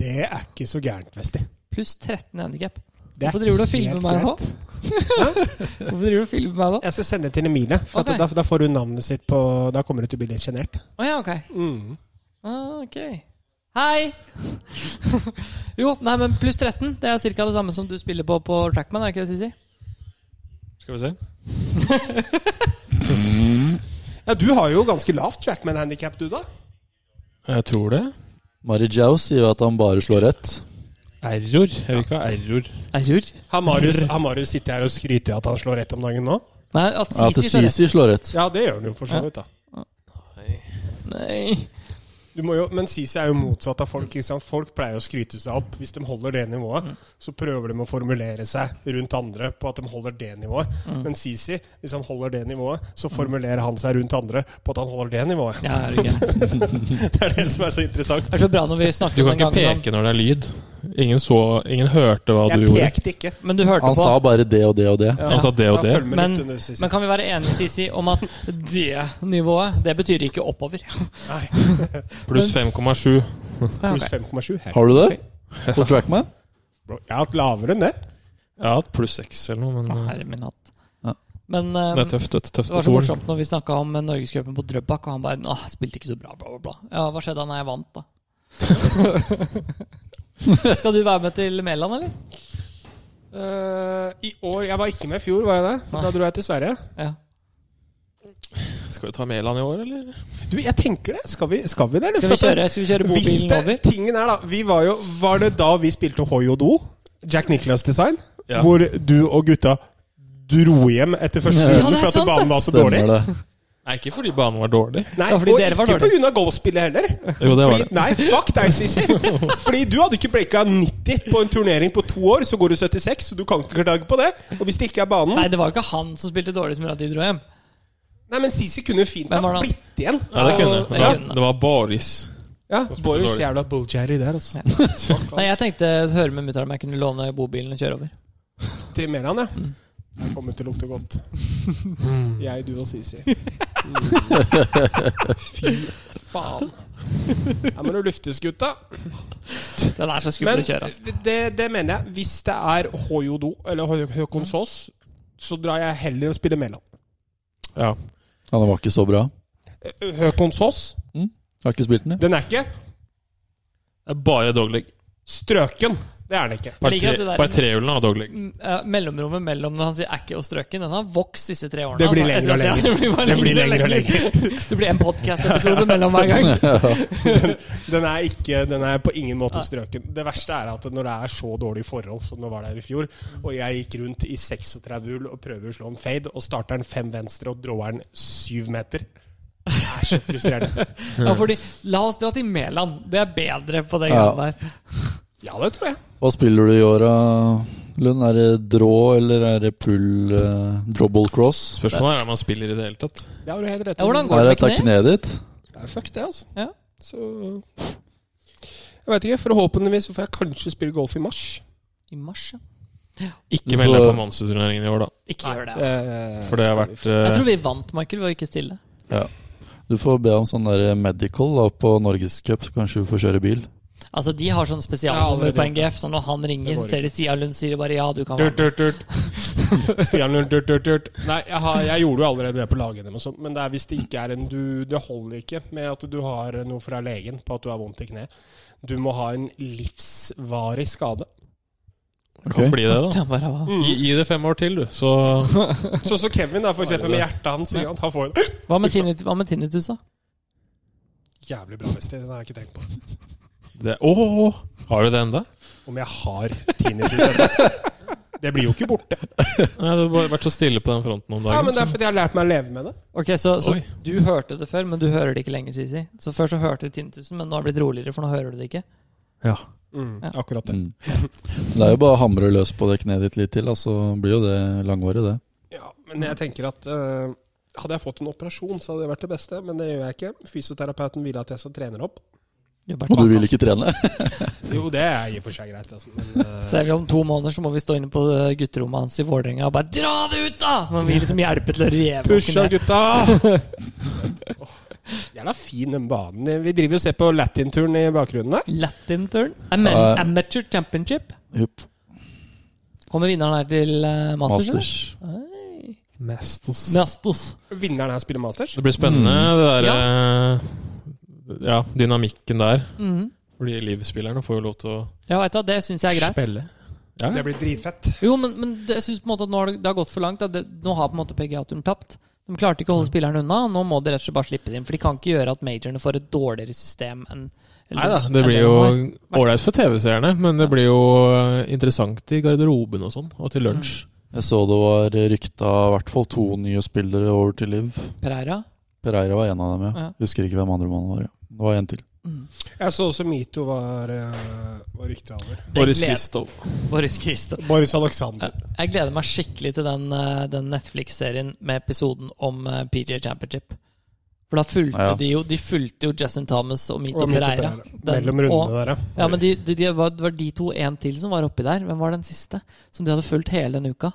S1: Det er ikke så gærent, Vesti.
S2: Pluss 13 i handikap.
S1: Det er
S2: Hvorfor driver du og filmer
S1: helt
S2: meg nå?
S1: greit.
S2: Hvorfor driver du og filmer meg nå?
S1: Jeg skal sende det til Emilie. For
S2: Ok.
S1: at da, da får hun navnet sitt på Da kommer hun til å bli litt sjenert.
S2: Å ja, ok.
S1: Mm.
S2: Ah, ok. Hei! jo, nei, men pluss 13. Det er ca. det samme som du spiller på på Trackman, er det ikke det, Sisi?
S4: Skal vi se.
S1: Ja, du har jo ganske lavt trackman-handikap, du, da.
S4: Jeg tror det.
S3: Mari Jau sier jo at han bare slår rett.
S4: Error. Jeg vil ikke ha error.
S2: Error?
S1: Har Marius, har Marius sittet her og skryter av at han slår rett om dagen nå?
S2: Nei, at
S3: Ja, at
S2: Sisi skjønner.
S3: Sisi slår rett.
S1: Ja, det gjør han jo for så vidt, da.
S2: Nei.
S1: Du må jo, men Sisi er jo motsatt av folk. Ikke sant? Folk pleier å skryte seg opp. Hvis de holder det nivået, så prøver de å formulere seg rundt andre på at de holder det nivået. Men Sisi, hvis han holder det nivået, så formulerer han seg rundt andre på at han holder det nivået.
S2: Ja, er det gøy.
S1: Det er det som er så interessant.
S2: Det er så bra når vi
S4: Du
S2: snakker
S4: kan
S2: om den
S4: ikke
S2: gangen om
S4: peke når det er lyd. Ingen så Ingen hørte hva du
S1: Jeg
S4: gjorde.
S1: pekte ikke.
S2: Men du hørte
S3: Han
S2: på.
S3: sa bare det og det og det.
S4: Han sa det og
S1: Han
S4: det.
S1: følger med
S2: Men-
S1: litt under Sisi.
S2: Men kan vi være enige, Sisi, om at det nivået, det betyr ikke oppover?
S1: Nei,
S4: Pluss 5,7.
S1: pluss 5,7. her.
S3: Har du det? På Trackman?
S1: Bro, Jeg har hatt lavere enn det.
S4: Ja, pluss 6 eller noe, men eh,
S2: Herre min hatt.
S3: Ja.
S2: Men eh,
S4: det er tøft. Det er tøft
S2: det
S4: på
S2: var så
S4: toren.
S2: morsomt når vi snakka om eh, norgescupen på Drøbak, og han bare Åh, spilte ikke så bra, bla, bla, bla. Ja, hva skjedde da når jeg vant, da? Skal du være med til Mæland, eller?
S1: Eh, I år Jeg var ikke med i fjor, var jeg det? For
S2: Ah.
S1: Da dro jeg til Sverige.
S2: Ja.
S4: Skal vi ta Mæland i år, eller?
S1: Du, jeg tenker det. Skal vi, skal vi det? eller?
S2: Skal vi
S1: For at-
S2: kjøre, skal vi kjøre
S1: Hvis
S2: bobilen
S1: det,
S2: over?
S1: tingen er da vi var, jo, var det da vi spilte Hoi og Do? Jack Nicklaus Design?
S4: Ja.
S1: Hvor du og gutta dro hjem etter første
S3: Ja,
S1: runde
S2: det er
S1: for at
S2: sant,
S1: banen
S2: det.
S1: var så dårlig?
S3: Stemmer det.
S4: Nei, ikke fordi banen var dårlig.
S1: Nei,
S2: Ja, fordi
S1: og
S2: dere var
S1: ikke
S2: dårlig.
S1: pga. golfspillet heller.
S4: Jo, det var
S1: Fordi,
S4: det.
S1: nei, fuck deg, Sissy. Fordi du hadde ikke breaka 90 på en turnering på to år, så går du 76, så du kan ikke klage på det. Og hvis det ikke er banen
S2: Nei,
S1: Nei,
S2: det var jo ikke han som spilte dårlig som gjorde at de dro hjem.
S1: men Sissy kunne jo fint
S2: Hvem var
S1: ha
S2: det?
S1: blitt igjen.
S4: Ja, det kunne
S1: Og-
S4: jeg.
S1: Ja,
S4: Det var- Det var Boris.
S1: ja
S4: spilte
S1: Boris
S4: dårlig.
S1: jævla bull-jerry der, altså.
S2: Nei, jeg tenkte høre med mutter'n om jeg kunne låne bobilen og kjøre over.
S1: Til Meran, ja.
S4: Mm.
S1: Det kommer til å lukte godt. Jeg, du og Sisi. Fy faen. Her må du luftes, gutta.
S2: Den er så
S1: Men
S2: skummel å kjøre, altså.
S1: det, det mener jeg. Hvis det er Hojodo eller Hø- Høkon Saas, så drar jeg heller og spiller Mæland.
S4: Ja.
S3: Ja, den var ikke så bra.
S1: Høkon Saas,
S3: Har ikke spilt den, jeg.
S1: den er ikke
S4: Det er Bare dogleg.
S1: strøken. Det er han ikke.
S4: Bare
S2: Jeg liker at det der-
S4: trehjulene av dogleg.
S2: Mm, eh, Mellomrommet mellom når han sier 'ækki' og 'strøken', den har vokst disse tre årene.
S1: Det blir
S2: altså.
S1: lengre og
S2: Ja,
S1: lengre.
S2: det blir bare
S1: Det blir
S2: lengre og
S1: lengre
S2: lengre. Det blir en podcast-episode mellom hver gang.
S1: Den er, ikke, den er på ingen måte strøken. Det verste er at når det er så dårlige forhold som det var der i fjor, og jeg gikk rundt i 36 hull og prøver å slå en fade, og starter den fem venstre og drar den syv meter Det er så frustrerende.
S2: Ja, fordi, la oss dra til Mæland. Det er bedre på det
S3: Ja.
S2: greiene der.
S1: Ja, det tror jeg.
S3: Hva spiller du i år, da, Lund? Er det draw, eller er det pull eh, double cross?
S4: Spørsmålet er om han spiller i det hele tatt.
S1: Det har du helt rett
S2: Ja, hvordan
S1: i.
S2: går
S3: Er det
S2: det med
S3: ta kneet ditt?
S1: Det er fuck, det, altså.
S2: Ja.
S1: Så Jeg veit ikke. Forhåpentligvis så får jeg kanskje spille golf i mars.
S2: I mars, ja.
S4: Ikke
S3: Så-
S4: meld deg på Monster-turneringen i år, da.
S2: Ikke gjør det. altså.
S1: Eh,
S4: For det har
S1: skal vi
S4: vært
S1: få-
S2: Jeg
S4: eh,
S2: tror vi vant, Michael, ved å ikke stille.
S3: Du får be om sånn der medical da, på Norgescup, så kanskje du får kjøre bil.
S2: Altså, De har sånn spesialnummer
S1: Ja, allerede.
S2: på NGF, så når han ringer,
S1: Det går
S2: så ser de Sia Lund sier de bare ja, du kan være
S1: Durt,
S2: med.
S1: durt, durt. Stian Lund, durt, durt, durt. Nei, jeg, har, jeg gjorde jo allerede det på lag-NM og sånt, men det er hvis det ikke er en du Det holder ikke med at du har noe fra legen på at du har vondt i kneet. Du må ha en livsvarig skade.
S4: Kan bli det, da.
S2: Ja, bare, hva?
S4: Gi, gi det fem år til, du, så
S1: Sånn som Kevin, da, for eksempel, med hjertet hans. ikke sant? Han får en
S2: Hva med tinnitus, hva med tinnitus da?
S1: jævlig bra vest. Den har jeg ikke tenkt på.
S4: det, Åh, Har du det enda?
S1: Om jeg har tinnitus. Det blir jo ikke borte.
S4: Nei, Du har bare vært så stille på den fronten om dagen.
S1: Ja, men Det
S4: så-
S1: er fordi jeg har lært meg å leve med det.
S2: Ok, så, så
S4: Oi.
S2: du hørte det før, men du hører det ikke lenger, Sisi. Så før så hørte du tinnitusen, men nå har det blitt roligere, for nå hører du det ikke.
S4: Ja.
S2: Ja.
S1: Akkurat det.
S3: Mm. Det er jo bare å hamre løs på det kneet ditt litt til, da, så blir jo det langvarig, det.
S1: Ja, men jeg tenker at eh, hadde jeg fått en operasjon, så hadde det vært det beste, men det gjør jeg ikke. Fysioterapeuten ville at jeg så trener opp.
S2: Du
S3: Og du vil ikke trene?
S1: Jo, det er i og for seg greit, altså. Men, eh,
S2: Så er vi om to måneder så må vi stå inne på eh, gutterommet hans i Vålerenga og bare 'dra det ut', da! Så må vi liksom hjelpe til å reve
S1: Pusha,
S2: opp ned.
S1: gutta! Åh, Jævla fin den banen. Vi driver og ser på Latin-turen i bakgrunnen der.
S2: Latin turn. Amen,
S3: Ja.
S2: amateur championship.
S3: Jupp.
S2: Kommer vinneren her til eh, Masters? eller?
S3: Masters.
S4: Masters.
S2: Masters.
S1: Vinneren her spiller Masters.
S4: Det blir spennende, det derre ja. dynamikken der.
S2: Mhm.
S4: Fordi livspillerne får jo lov til å
S2: Ja, vet du, hva, det syns jeg er greit.
S4: spille. Ja.
S1: Det blir dritfett.
S2: Jo, men, men det- jeg synes på en måte at nå har det, det har gått for langt. da. det, nå har på en måte PGA-turen tapt. De klarte ikke å holde spillerne unna. og Nå må de rett og slett bare slippe det inn. For de kan ikke gjøre at majorene får et dårligere system enn
S4: Nei da,
S2: enn
S4: det blir jo
S2: de har.
S4: ålreit for TV-seerne, men det blir jo eh, interessant i garderoben og sånn, og
S2: Mm.
S4: til lunsj.
S3: Jeg så det var rykta i hvert fall to nye spillere over til Liv.
S2: Pereira.
S3: Pereira var en av dem, ja.
S2: Ja.
S3: Husker ikke hvem andre mannen var. Ja. Det var en til.
S1: Jeg så også Mito var, eh, var ryktet over.
S4: Boris
S2: gleder-
S4: Christov.
S2: Boris Christo.
S1: Boris Alexander.
S2: Jeg gleder meg skikkelig til den, eh, den Netflix-serien med episoden om eh, PJ Championship. For da fulgte
S3: Ja.
S2: de jo De fulgte jo Justin Thomas og Mito
S1: Og Mito
S2: Pereira.
S1: Pereira.
S2: Den-
S1: Mellom
S2: og-
S1: rundene der, ja.
S2: Ja, men de, de, de, var- det var de to en til som var oppi der. Hvem var den siste? Som de hadde fulgt hele denne uka.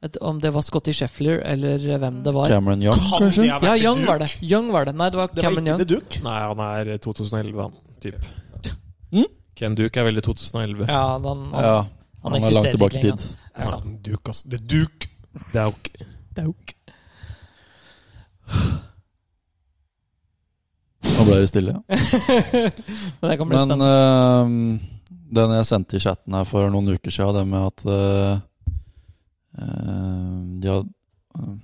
S2: Et, om det var Scotty Sheffler eller hvem det var.
S3: Cameron Young,
S1: Kan de
S3: kanskje?
S1: ha vært
S2: Ja,
S1: i
S2: Young
S1: duk?
S2: var det. Young var det. Nei, det var
S1: Det var
S2: Cameron
S1: ikke
S2: Young.
S1: The Duke.
S4: Nei, han er 2011, han. Typ.
S3: Mm?
S4: Ken Duke er veldig 2011.
S2: Ja, den, han,
S3: Ja,
S2: han
S3: han er langt
S2: eksisterer
S3: tilbake i
S2: ikke
S3: tid.
S2: engang.
S1: Jeg sa den Duke, altså. The Duke.
S4: Det er jo ikke
S2: Dauk.
S3: Nå ble det stille.
S2: Men det kan bli
S3: Men
S2: spennende.
S3: eh, den jeg sendte i chatten her for noen uker siden, det med at eh, eh, de hadde, uh,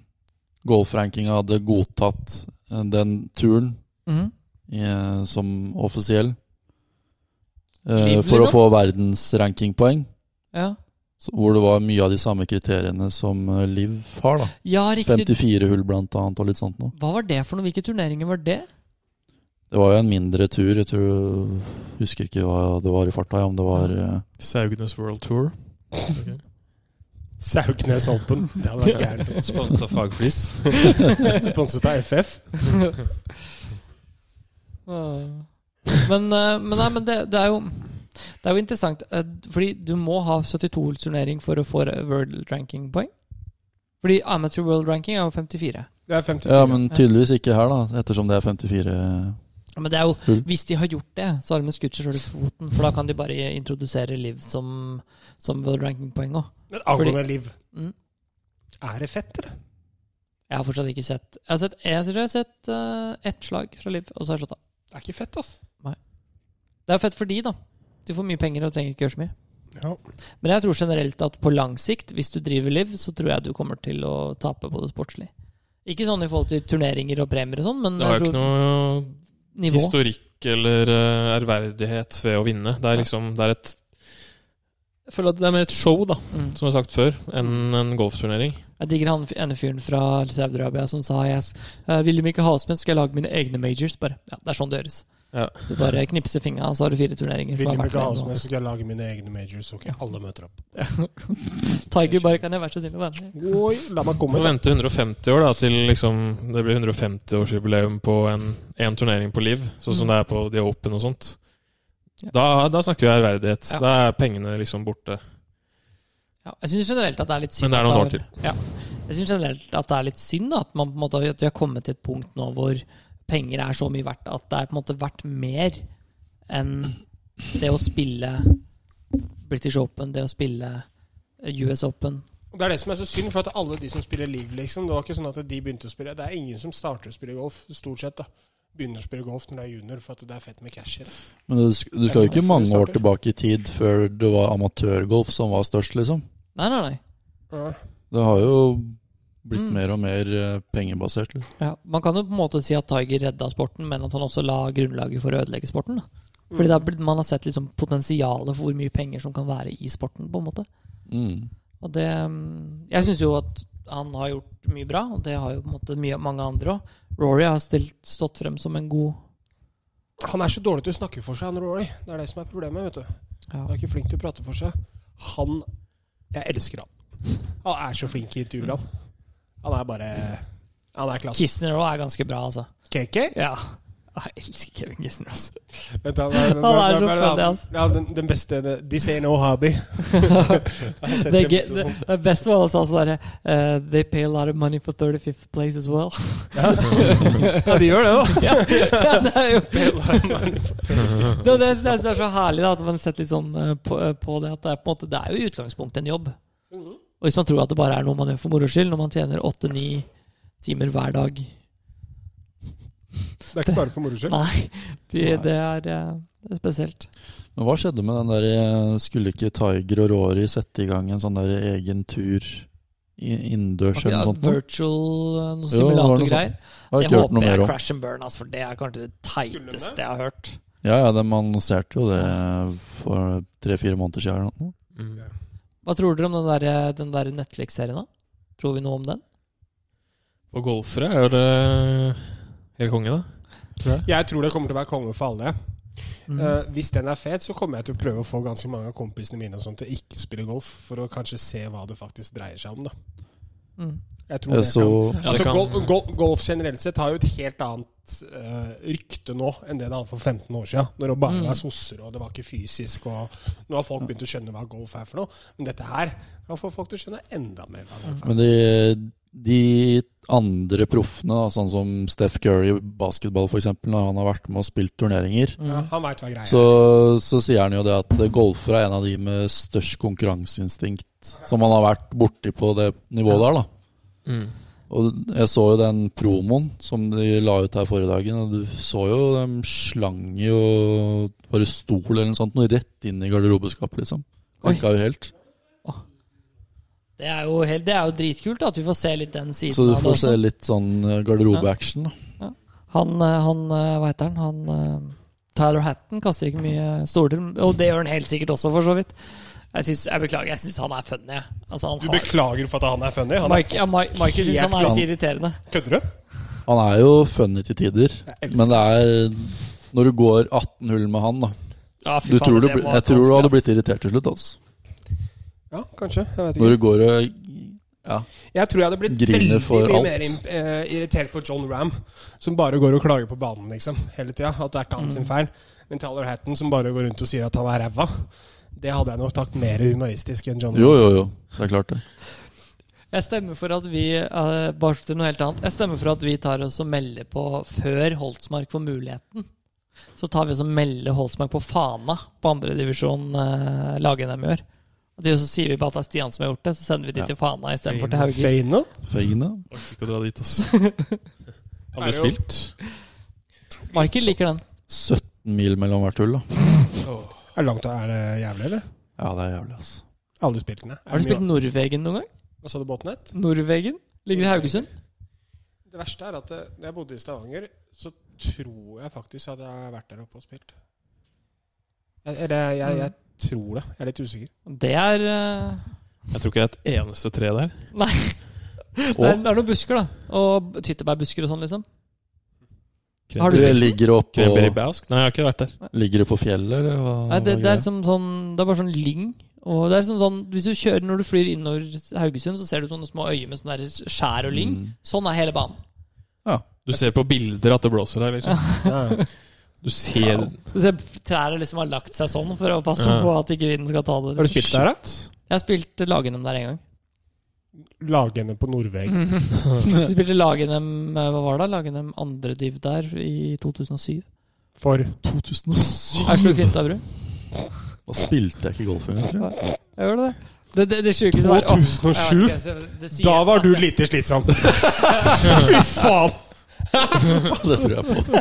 S3: golfrankinga hadde godtatt eh, den turen
S2: Mhm.
S3: i, eh, som offisiell eh,
S2: Liv,
S3: for
S2: liksom?
S3: å få verdensrankingpoeng.
S2: Ja.
S3: så- Hvor det var mye av de samme kriteriene som eh, Liv har. da
S2: ja, riktig.
S3: 54 hull blant annet og litt sånt noe.
S2: Hva var det for noe? Hvilke turneringer var det?
S3: Det var jo en mindre tur. Jeg tror, husker ikke hva det var i farta, ja, om det var eh,
S4: Saugnes World Tour. Okay.
S1: Sauknes Open. Det hadde vært gærent. altså.
S4: Sponsa Fagflis.
S1: Sponset av FF.
S2: Men, eh, men, nei, men det, det er jo Det er jo interessant, eh, fordi du må ha 72-turnering for å få world ranking-poeng. Fordi amateur world ranking er jo 54.
S1: Det er 50
S3: Ja, men tydeligvis ikke her, da, ettersom det er 54
S2: Men det er jo,
S3: Hull.
S2: hvis de har gjort det, så har de skutt seg sjøl i foten. For da kan de bare introdusere Liv som, som world ranking-poeng òg.
S1: Men angående liv
S2: Mm.
S1: Er det fett, eller?
S2: Jeg har fortsatt ikke sett Jeg har sett, jeg tror jeg har sett eh, ett slag fra Liv, og så har jeg slått av.
S1: Det er ikke fett, altså.
S2: Det er fett for de, da. De får mye penger og trenger ikke gjøre så mye.
S1: Ja.
S2: Men jeg tror generelt at på lang sikt, hvis du driver liv, så tror jeg du kommer til å tape på det sportslig. Ikke sånn i forhold til turneringer og premier og sånn, men
S4: Det har jo
S2: jeg
S4: ikke
S2: tror
S4: noe
S2: nivå.
S4: historikk eller eh, ærverdighet ved å vinne. Det er liksom det er et Jeg føler at det er mer et show, da,
S2: Mm.
S4: som jeg har sagt før, enn en golfturnering.
S2: Jeg digger han ene fyren fra Saudi-Arabia som sa jeg eh, vil de ikke ha oss med, skal jeg lage mine egne majors. Bare. Ja, det er sånn det gjøres.
S4: Ja.
S2: Du bare knipser fingra, så har du fire turneringer. som
S1: Vil
S2: er
S1: de
S2: verdt
S1: ikke altså. ha oss
S2: det.
S1: med, så skal jeg lage mine egne majors, så ikke alle møter opp.
S2: Tiger bare kan jeg være så snill å være med.
S1: Oi, la
S2: Mm.
S1: meg
S4: Må
S1: komme.
S4: vente 150 år da, til liksom, det blir 150-årsjubileum på en, en turnering på Liv, sånn som
S2: Mm.
S4: det er på The Open og sånt.
S2: Ja.
S4: Da, da snakker vi ærverdighet.
S2: Ja.
S4: Da er pengene liksom borte.
S2: Ja, jeg syns generelt at det er litt synd.
S4: Men det er
S2: at
S4: noen år
S2: har- Ja. Jeg synes generelt at det er litt synd da, at, man, på en måte, at vi har kommet til et punkt nå hvor penger er så mye verdt at det er på en måte verdt mer enn det å spille British Open, det å spille US Open.
S1: Det er det som er så synd, for at alle de som spiller league, liksom, det var ikke sånn at de begynte å spille. Det er ingen som starter å spille golf, stort sett. da. Begynner å spille golf når det er junior, for at det er fett med cash i det.
S3: Men du, sk- du skal jo ikke mange år tilbake i tid før det var amatørgolf som var størst, liksom.
S2: Nei, nei, nei.
S1: Ja.
S3: Det har jo blitt
S2: Mm.
S3: mer og mer eh, pengebasert. Liksom.
S2: Ja, man kan jo på en måte si at Tiger redda sporten, men at han også la grunnlaget for å ødelegge sporten. Da. Fordi da blir- man har sett liksom potensialet for hvor mye penger som kan være i sporten. på en måte.
S3: Mm.
S2: Og det, mm, Jeg syns jo at han har gjort mye bra, og det har jo på en måte mye, mange andre òg. Rory har stilt, stått frem som en god
S1: Han er så dårlig til å snakke for seg, han Rory. Det er det som er problemet. vet du.
S2: ja.
S1: Han er ikke flink til å prate for seg. Han Jeg elsker han. Han er så flink i intervjuer, han. Han er bare Han er klasse.
S2: Kisner òg er ganske bra, altså.
S1: KK?
S2: Ja. Ah, Jeg elsker Kevin Kisner, altså.
S1: Vent, da, hva- hva-
S2: Han er
S1: hva- hva
S2: så
S1: det
S2: flink,
S1: han-
S2: ass.
S1: Ja, den, den beste det- This ain't no hobby.
S2: altså. Det, er gøy- det, det beste var altså sånn derre eh, They pay a lot of money for 35th place as well.
S1: Ja, de gjør det, da.
S2: ja, ja, det er jo det, det, det er så herlig da, at man setter litt sånn eh, på, eh, på det. At det er, på en måte, det er jo i utgangspunktet en jobb. Og hvis man tror at det bare er noe man gjør for moro skyld, når man tjener åtte-ni timer hver dag
S1: Det er ikke bare for moro skyld.
S2: Nei, det, det, er, eh, det er spesielt.
S3: Men hva skjedde med den der eh, Skulle ikke Tiger og Rory sette i gang en sånn der egen tur i- innendørs
S2: Ja,
S3: eller noe sånt?
S2: virtual eh, noe
S3: Jo, det var noe
S2: simulatorgreier.
S3: Jeg har
S2: Det
S3: ikke hørt noe
S2: håper jeg
S3: mer
S2: er
S3: om.
S2: crash and burn, altså, for det er kanskje det teiteste jeg har hørt.
S3: Ja, ja, de annonserte jo det for tre-fire måneder siden. Eller noe.
S4: Mm.
S2: Hva tror dere om den der, eh, den der Netflix-serien, da? Tror vi noe om den?
S4: Og golfere er jo det helt konge, da. Tror jeg.
S1: Jeg tror det kommer til å være konge for alle.
S2: Mm.
S1: Eh, hvis den er fet, så kommer jeg til å prøve å få ganske mange av kompisene mine og sånt til å ikke spille golf, for å kanskje se hva det faktisk dreier seg om. da.
S2: Mm.
S1: Jeg tror
S3: Jeg
S1: det
S3: så
S1: kan
S4: Ja, det
S1: Altså,
S4: kan-
S1: gol gol golf generelt sett har jo et helt annet eh, rykte nå enn det det hadde for 15 år siden. Når det bare
S2: Mm.
S1: var sosser, og det var ikke fysisk. og Nå har folk begynt å skjønne hva golf er for noe. Men dette her kan få folk til å skjønne enda mer hva golf er.
S3: Men de, de andre proffene, da, sånn som Steff Curry i basketball f.eks., når han har vært med og spilt turneringer,
S1: Ja, han veit hva greia er.
S3: så, så sier han jo det at golfer er en av de med størst konkurranseinstinkt som han har vært borti på det nivået der, da.
S4: Mm.
S3: Og jeg så jo den promoen som de la ut her forrige dagen, og du så jo dem slang jo bare stol eller noe sånt, noe rett inn i garderobeskapet, liksom.
S2: Oi.
S3: Klikka jo helt.
S2: Det er, jo helt, det er jo dritkult da, at vi får se litt den siden.
S3: Så du
S2: av det
S3: får se
S2: også.
S3: litt sånn eh, garderobeaction, da.
S2: Han, eh, han eh, hva heter han? han eh, Tyler Hatton kaster ikke mye stoler, og det gjør han helt sikkert også, for så vidt. Jeg, synes, jeg beklager, jeg syns han er funny. jeg. Altså, han
S1: Du
S2: har,
S1: beklager for at han er funny? Han er,
S2: Mike, ja, Mike, Michael syns
S1: Helt
S2: han er litt
S3: klar.
S2: irriterende.
S1: kødder du?
S3: Han er jo funny til tider,
S1: elsker
S3: men det er Når du går 18 hull med han, da
S2: Ja,
S3: du tror du, bli- Jeg tror du hadde blitt irritert til slutt, altså.
S1: Ja, kanskje. Jeg vet ikke.
S3: Når du går og Ja.
S1: Jeg tror jeg hadde blitt
S3: Griner
S1: veldig
S3: for
S1: mye
S3: alt.
S1: mer im- eh, irritert på John Ram, som bare går og klager på banen liksom, hele tida. At det er ikke han sin feil. Men Tyler Hatton, som bare går rundt og sier at han er ræva, det hadde jeg nok tatt mer humoristisk enn John
S3: Jo,
S1: Ram.
S3: jo, jo. Det er klart, det.
S2: Jeg stemmer for at vi eh, bare til noe helt annet. Jeg stemmer for at vi tar oss og melder på før Holtsmark får muligheten. Så tar vi oss og melder Holtsmark på Fana på andredivisjon uh, lag-NM i år. Og til- så sier vi bare at det er Stian som har gjort det, så sender vi de
S3: Ja.
S2: til Fana istedenfor til Hauger.
S1: Feino?
S3: Fengende.
S4: Orker ikke å dra dit, ass.
S1: Er
S4: Aldri
S1: det jo-
S4: spilt.
S2: Michael liker den.
S3: 17 mil mellom hvert hull, da.
S1: Er det langt, er det jævlig, eller?
S3: Ja, det er jævlig, ass.
S1: Aldri spilt den. jeg.
S2: Har du
S1: Mye-
S2: spilt Norvegen noen gang?
S1: Hva sa du, Båtnett?
S2: Norvegen ligger i Haugesund.
S1: Det verste er at eh, da jeg bodde i Stavanger, så tror jeg faktisk at jeg har vært der oppe og spilt. Jeg, eller jeg, jeg, jeg tror det. Jeg er litt usikker.
S2: Det er eh,
S4: Jeg tror ikke det er et eneste tre der.
S2: Nei. Det er, det er noen busker, da. Og tyttebærbusker og sånn, liksom. Har
S3: Du
S2: du spilt?
S3: ligger oppå
S4: Krember i Bausk? Nei, jeg har ikke vært der.
S3: Ligger du på fjellet, eller hva?
S2: Nei, det,
S3: hva
S2: det er
S3: greia?
S2: som sånn Det er bare sånn lyng. Og det er som sånn Hvis du kjører når du flyr innover Haugesund, så ser du sånne små øyer med sånne der skjær og lyng.
S3: Mm.
S2: Sånn er hele banen.
S4: Du ser på bilder at det blåser der, liksom. Du ser
S2: Du ser trærne liksom har lagt seg sånn for å passe
S4: Ja.
S2: på at ikke vinden skal ta det.
S1: Har du
S2: Liksom.
S1: spilt der, da?
S2: Jeg har spilt Lagenem der en gang.
S1: Lagene på Norvegen.
S2: Vi spilte Lagenem eh, Hva var det? Lagenem andre div der i 2007.
S1: For
S3: 2007!
S2: Aurskog Finstadbru.
S3: Da spilte jeg ikke golf engang, tror jeg.
S2: Jeg gjorde det. Det, det, det sjuke som var- Åh, jeg
S1: 2007!
S2: vet ikke, jeg- det sier
S1: Da var
S2: at
S1: du
S2: det-
S1: lite slitsom! Fy faen!
S3: Det tror jeg på.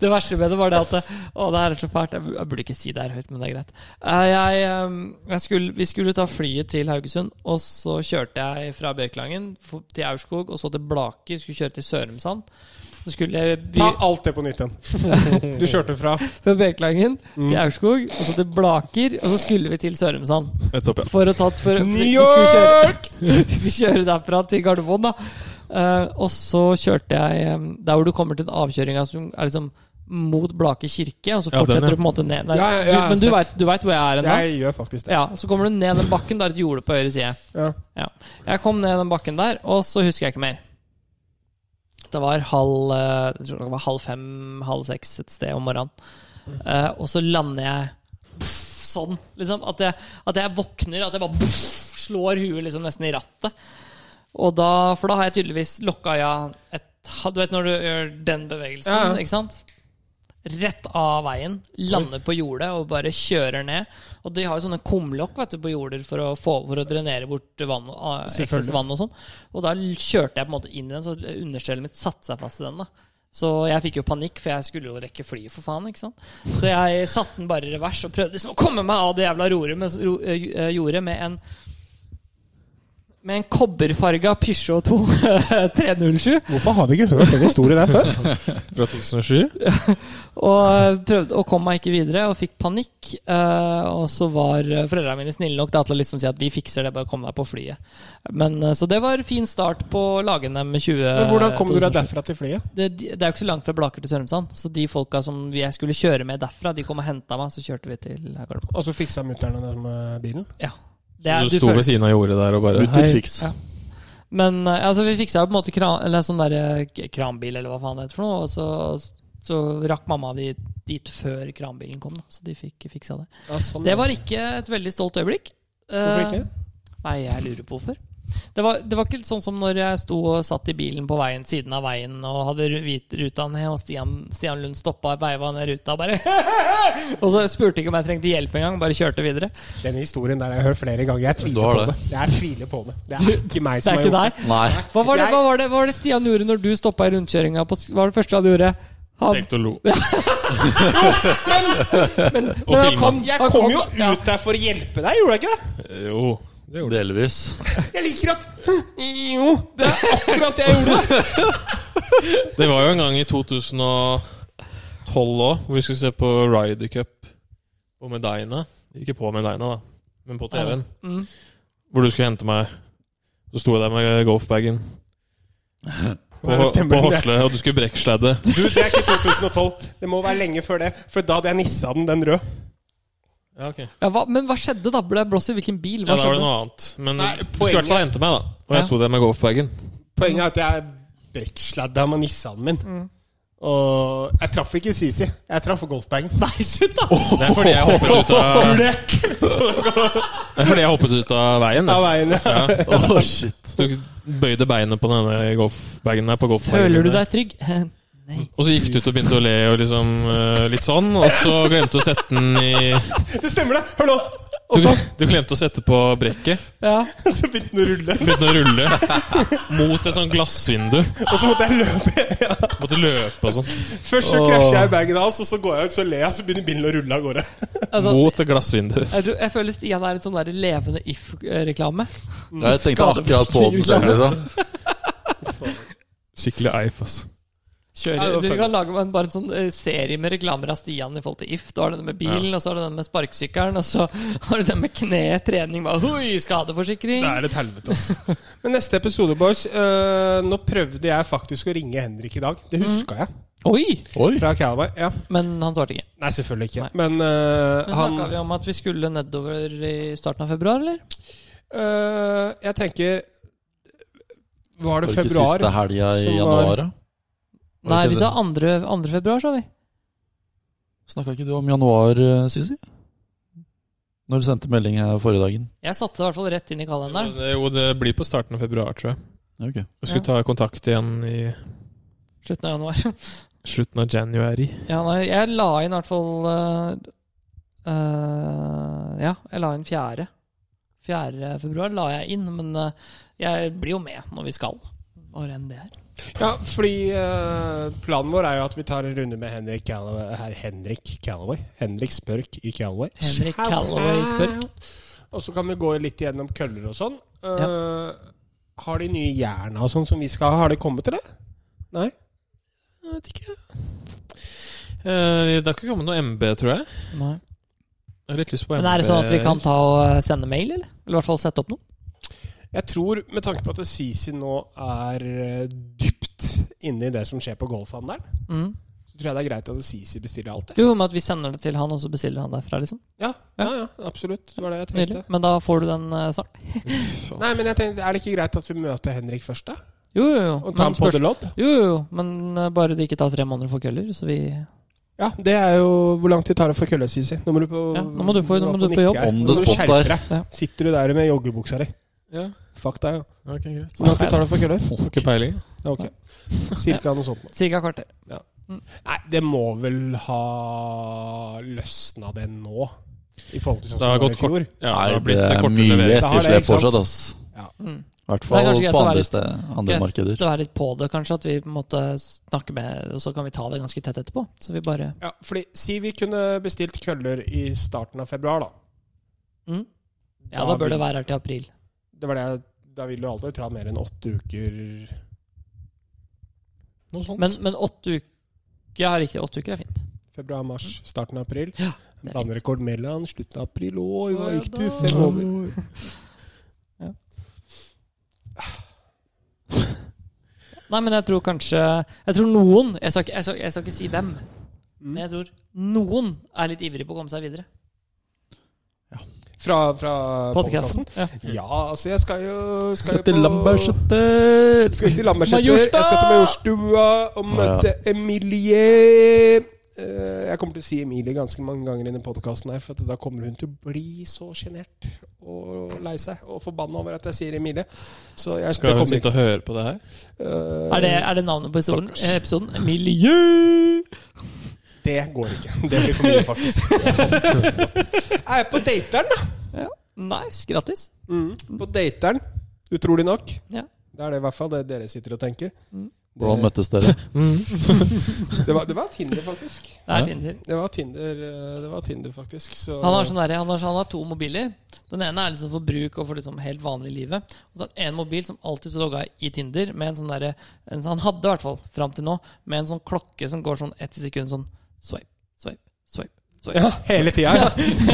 S2: Det verste med det var det at det- Å, det her er så fælt. Jeg, bu- jeg burde ikke si det her høyt, men det er greit. Eh, Jeg, ehm, jeg skulle, vi skulle ta flyet til Haugesund, og så kjørte jeg fra Bjørklangen f- til Aurskog, og så til Blaker. Skulle kjøre til Sørumsand. Så skulle jeg by-
S1: Ta alt det på nytt igjen. Du kjørte fra
S2: fra Bjørklangen
S1: Mm.
S2: til Aurskog, og så til Blaker, og så skulle vi til Sørumsand.
S4: Nettopp, ja.
S2: For å ta for, for,
S1: New
S2: vi skulle kjøre- Vi skulle kjøre derfra til Gardermoen, da. Eh, og så kjørte jeg eh, der hvor du kommer til den avkjøringa som er liksom mot Blake kirke, og så
S4: Ja, den,
S2: fortsetter
S4: ja.
S2: du på en måte ned der.
S1: Ja, ja, ja,
S2: du, men du
S1: jeg har
S2: vet, du vet hvor jeg er ennå?
S1: Jeg gjør faktisk det.
S2: Ja, så kommer du ned den bakken, det er et jorde på høyre side.
S1: Ja.
S2: Ja. Jeg kom ned den bakken der, og så husker jeg ikke mer. Det var halv eh, Jeg tror det var halv fem, halv seks et sted om morgenen.
S1: Mm.
S2: Eh, og så lander jeg pff, sånn, liksom. At jeg, at jeg våkner, at jeg bare pff, slår huet liksom nesten i rattet. Og da, for da har jeg tydeligvis lokka ja et ha- Du vet når du gjør den bevegelsen,
S1: Ja, ja.
S2: ikke sant? Rett av veien, lander på jordet og bare kjører ned. Og de har jo sånne kumlokk vet du, på jorder for å, få, for å drenere bort vann, og- ah,
S1: Selvfølgelig.
S2: ekstra vann og sånn. Og da l- kjørte jeg på en måte inn i den, så understellet mitt satte seg fast i den. da. Så jeg fikk jo panikk, for jeg skulle jo rekke flyet, for faen. ikke sant? Så jeg satte den bare i revers og prøvde liksom å komme meg av det jævla roret med, ro, eh, jordet med en med en kobberfarga Peugeot 2 307.
S1: Hvorfor har vi ikke hørt den historien der før?
S4: Fra 2007?
S2: Og prøvde å komme meg ikke videre, og fikk panikk. Eh, og så var eh, foreldrene mine snille nok da, til å liksom si at vi fikser det, bare kom deg på flyet. Men, eh, så det var fin start på lagene med 20...
S1: Men Hvordan kom du deg
S2: 2007.
S1: derfra til flyet?
S2: Det, det er jo ikke så langt fra Blaker til Sørumsand. Så de folka som jeg skulle kjøre med derfra, de kom og henta meg, så kjørte vi til Gardermoen.
S1: Og så fiksa mutter'n den med bilen?
S2: Ja. Det er,
S4: Du sto
S2: føler-
S4: ved siden av jordet der og bare
S3: Ut
S4: Hei.
S3: litt fiks.
S2: Ja. Men eh, altså, vi fiksa jo på en måte kran, eller sånn der, eh, k- kranbil, eller hva faen det heter for noe. Og så, så rakk mamma de dit før kranbilen kom, da. Så de fikk fiksa det. Det var ikke et veldig stolt øyeblikk.
S1: Hvorfor
S2: Eh,
S1: ikke?
S2: Nei, jeg lurer på hvorfor. Det var, det var ikke sånn som når jeg sto og satt i bilen på veien, siden av veien og hadde ru- hvit ruta ned, og Stian, Stian Lund stoppa og veiva ned ruta og bare Og så spurte ikke om jeg trengte hjelp engang, bare kjørte videre.
S1: Den historien der har jeg hørt flere ganger. Jeg
S3: Du
S1: tviler
S3: har
S1: på det.
S3: det.
S1: Jeg tviler på det. Det er ikke meg
S2: Det
S1: som
S2: er
S1: har
S2: ikke
S1: gjort det.
S2: deg.
S3: Nei.
S2: Hva var, det,
S1: Jeg-
S2: hva, var det, hva var det Stian gjorde når du stoppa i rundkjøringa? på- Hva var det første han gjorde? Han,
S4: Lekte og lo.
S2: men han
S4: filma.
S2: kom,
S1: Jeg
S2: han
S1: kom jo
S2: ja.
S1: ut der for å hjelpe deg, gjorde jeg ikke det?
S4: Jo. Det gjorde
S3: Delvis.
S1: Jeg liker at Jo, det er akkurat det jeg gjorde.
S4: det. Det var jo en gang i 2012 òg, hvor vi skulle se på Ryder Cup på Medina. Ikke på Medina, da, men på TV-en.
S2: Mm.
S4: Hvor du skulle hente meg. Så sto jeg der med golfbagen på,
S1: Det stemmer,
S4: på
S1: det.
S4: Hosle, og du skulle brekksladde.
S1: Du, det er ikke 2012. Det må være lenge før det. For da hadde jeg nissa den, den røde.
S4: Ja, ok.
S2: Ja, hva, men hva skjedde da? Ble jeg blåst i hvilken bil?
S4: Ja,
S2: Hva
S4: da var det
S2: skjedde?
S4: noe annet. Men
S1: Nei,
S4: du skulle i hvert fall hente meg, da. Og
S2: Ja.
S4: jeg sto der med golfbagen.
S1: Poenget er at jeg brekksladda med nissaen min.
S2: Mm.
S1: Og jeg traff ikke Sisi. Jeg traff golfbagen. Nei, shit da!
S4: Det er fordi jeg hoppet ut av,
S1: Blekk
S4: det er fordi jeg hoppet ut av veien.
S1: av veien.
S3: Åh, shit.
S4: Du bøyde beinet på denne golfbagen der. På golfbagen
S2: Føler du
S4: der.
S2: deg trygg? Nei.
S4: Og så gikk du ut og begynte å le og liksom eh, litt sånn, og så glemte du å sette den i
S1: Det stemmer, det! Hør nå!
S4: Du, du glemte å sette på brekket.
S2: Ja.
S1: Og så begynte den å rulle.
S4: Begynte å rulle mot et sånt glassvindu.
S1: Og så måtte jeg løpe.
S4: Måtte løpe og sånn.
S1: Først så krasjer jeg i bagen hans, og så går jeg ut, så ler jeg, så begynner bilen å rulle av gårde.
S2: Altså,
S4: Mot et glassvindu.
S2: jeg, tror, jeg føler Stian er en sånn der levende if-reklame.
S3: Nei, jeg tenkte akkurat på den selv, liksom.
S4: Skikkelig eif, ass.
S1: Kjører,
S2: Du kan lage en, bare en sånn eh, serie med reklamer av Stian i forhold til if. Du har den med bilen, og så har du den med sparkesykkelen, og så har du den med kne, trening bare, Oi, skadeforsikring!
S1: Det er et helvete, altså. Men neste episode, boys. øh, nå prøvde jeg faktisk å ringe Henrik i dag. Det huska jeg.
S2: Oi!
S3: Oi!
S1: Fra Calvary. Ja.
S2: Men han svarte ikke.
S1: Nei, selvfølgelig ikke. Men, øh,
S2: Men
S1: han
S2: Snakka vi om at vi skulle nedover i starten av februar, eller?
S1: øh, Jeg tenker Var det
S3: Var det ikke
S1: februar?
S3: siste helga i
S1: som var-
S3: januar, da? Var det
S2: Nei,
S3: ikke
S2: vi
S3: det?
S2: sa 2. februar, sa vi.
S3: Snakka ikke du om januar, eh, Sisi? Når du sendte melding her forrige dagen.
S2: Jeg satte det i hvert fall rett inn i kalenderen.
S4: Det- Jo, det blir på starten av februar, tror jeg.
S3: Ok.
S4: Jeg skulle ta kontakt igjen i
S2: Slutten av januar.
S4: slutten av januari.
S2: Ja, nei, jeg la inn i hvert fall eh, eh, Ja, jeg la inn fjerde. Fjerde februar la jeg inn, men eh, jeg blir jo med når vi skal. Hva enn det er.
S1: Ja, fordi øh, planen vår er jo at vi tar en runde med Henrik Callaway Her, Henrik Callaway. Henrik Spørk i Callaway.
S2: Henrik Callaway Spørk.
S1: Og så kan vi gå litt gjennom køller og sånn. Øh, Har de nye jerna og sånn som vi skal ha? Har de kommet til det? Nei?
S4: Jeg vet ikke. Eh, Det har ikke kommet noe MB, tror jeg.
S2: Nei.
S4: Jeg har litt lyst på MB.
S2: Men er det sånn at vi kan ta og eh, sende mail, eller? Eller i hvert fall sette opp noe?
S1: Jeg tror, med tanke på at Sisi nå er eh, dypt inne i det som skjer på golfhandelen,
S2: Mm.
S1: så tror jeg det er greit at Sisi bestiller alt det.
S2: Jo, med at vi sender det til han, og så bestiller han derfra, liksom.
S1: Ja, ja, ja, absolutt. Det var det jeg
S2: Nydelig.
S1: tenkte.
S2: Men da får du den eh, snart.
S4: Faen.
S1: Nei, men jeg tenkte, Er det ikke greit at vi møter Henrik først, da?
S2: Jo, jo, jo.
S1: Og tar
S2: Men,
S1: en på
S2: spørs...
S1: the lodd?
S2: jo, jo, jo. men eh, bare det ikke tar tre måneder å få køller, så vi
S1: Ja, det er jo hvor lang tid tar det for kølla, Sisi. Nå må du på,
S2: Ja, nå må du på- nå må
S1: på
S2: du på
S1: nikke
S2: jobb.
S1: her.
S3: On
S1: Nå
S3: the
S1: må du
S3: spot
S1: skjerpe
S3: der.
S1: deg.
S2: Ja.
S1: Sitter du der med joggebuksa di?
S4: Ja,
S1: Fuck deg, ja.
S4: ok, greit.
S1: Hvor lang tid tar det for køller?
S4: Får ikke peiling.
S1: Ja, ok. Cirka noe sånt. nå.
S2: Cirka kvarter.
S1: Nei, det må vel ha løsna det nå? I forhold til sånn
S4: Det
S1: som
S4: har
S1: var
S4: gått
S1: i fjor.
S4: Ja,
S3: Nei,
S4: har blitt
S3: det er
S4: kortere
S3: mye
S4: levering.
S1: har det,
S3: etterslep
S1: ikke sant?
S3: fortsatt, ass.
S2: Mm.
S3: I
S2: Det er
S3: hvert fall
S2: kanskje greit
S3: på
S2: å være
S3: andre,
S2: litt-
S3: sted, andre
S2: greit.
S3: markeder.
S2: til å være litt på det, kanskje, at vi på en måte snakker med Og så kan vi ta det ganske tett etterpå. Så vi bare
S1: Ja, fordi Si vi kunne bestilt køller i starten av februar, da.
S2: mm. Ja, da bør det
S1: vil- det
S2: være her til april.
S1: var det jeg- Da vil du alltid ta mer enn åtte uker
S4: Noe sånt.
S2: Men, men åtte uker Jeg har ikke Åtte uker er fint.
S1: februar, mars, starten av april.
S2: Ja, det er fint.
S1: Dannerekord mellom slutten av april og hva
S2: Ja,
S1: gikk du?
S2: da-
S1: Fem over.
S2: Nei, men jeg tror kanskje Jeg tror noen Jeg skal, ikke- jeg skal, jeg skal ikke si dem. Men jeg tror noen er litt ivrig på å komme seg videre.
S1: Fra, fra
S2: Podcasten.
S1: podkasten?
S2: Ja.
S1: Ja, altså, jeg skal jo Skal, jo
S3: Skal til
S1: på-
S3: Lambertseter!
S1: Skal ikke til Lambertseter. Jeg
S2: Majorstua!
S1: skal til Majorstua og møte Emilie. Eh, Jeg kommer til å si Emilie ganske mange ganger i denne podkasten, her, for at da kommer hun til å bli så sjenert og lei seg og forbanna over at jeg sier Emilie. Så jeg
S4: Skal
S1: det
S4: hun
S1: kommer ikke
S4: sitte og høre på det her?
S1: Eh,
S2: Er det, er det navnet på episoden? Eh,
S4: Stakkars.
S2: episoden? Miljø!
S1: Det går ikke. Det blir for mye, faktisk. jeg er på dateren, da.
S2: Nice. Grattis. Mm.
S1: På dateren. Utrolig nok.
S2: Ja.
S1: Det er det i hvert fall det dere sitter og tenker.
S2: Mm.
S3: Hvordan møttes dere?
S1: Det var, det var Tinder, faktisk.
S2: Det er Tinder.
S1: Det var Tinder, eh, det var Tinder faktisk. Så
S2: Han har, sånn der, han, har, han har to mobiler. Den ene er liksom for bruk og for liksom helt vanlig i livet. Og så har han en mobil som alltid så logga i Tinder. Med en sånn derre- en, sånn- han hadde i hvert fall fram til nå, med en sånn klokke som går sånn ett sekund sånn swipe, swipe, swipe. swipe.
S1: Ja, hele tida. Ja.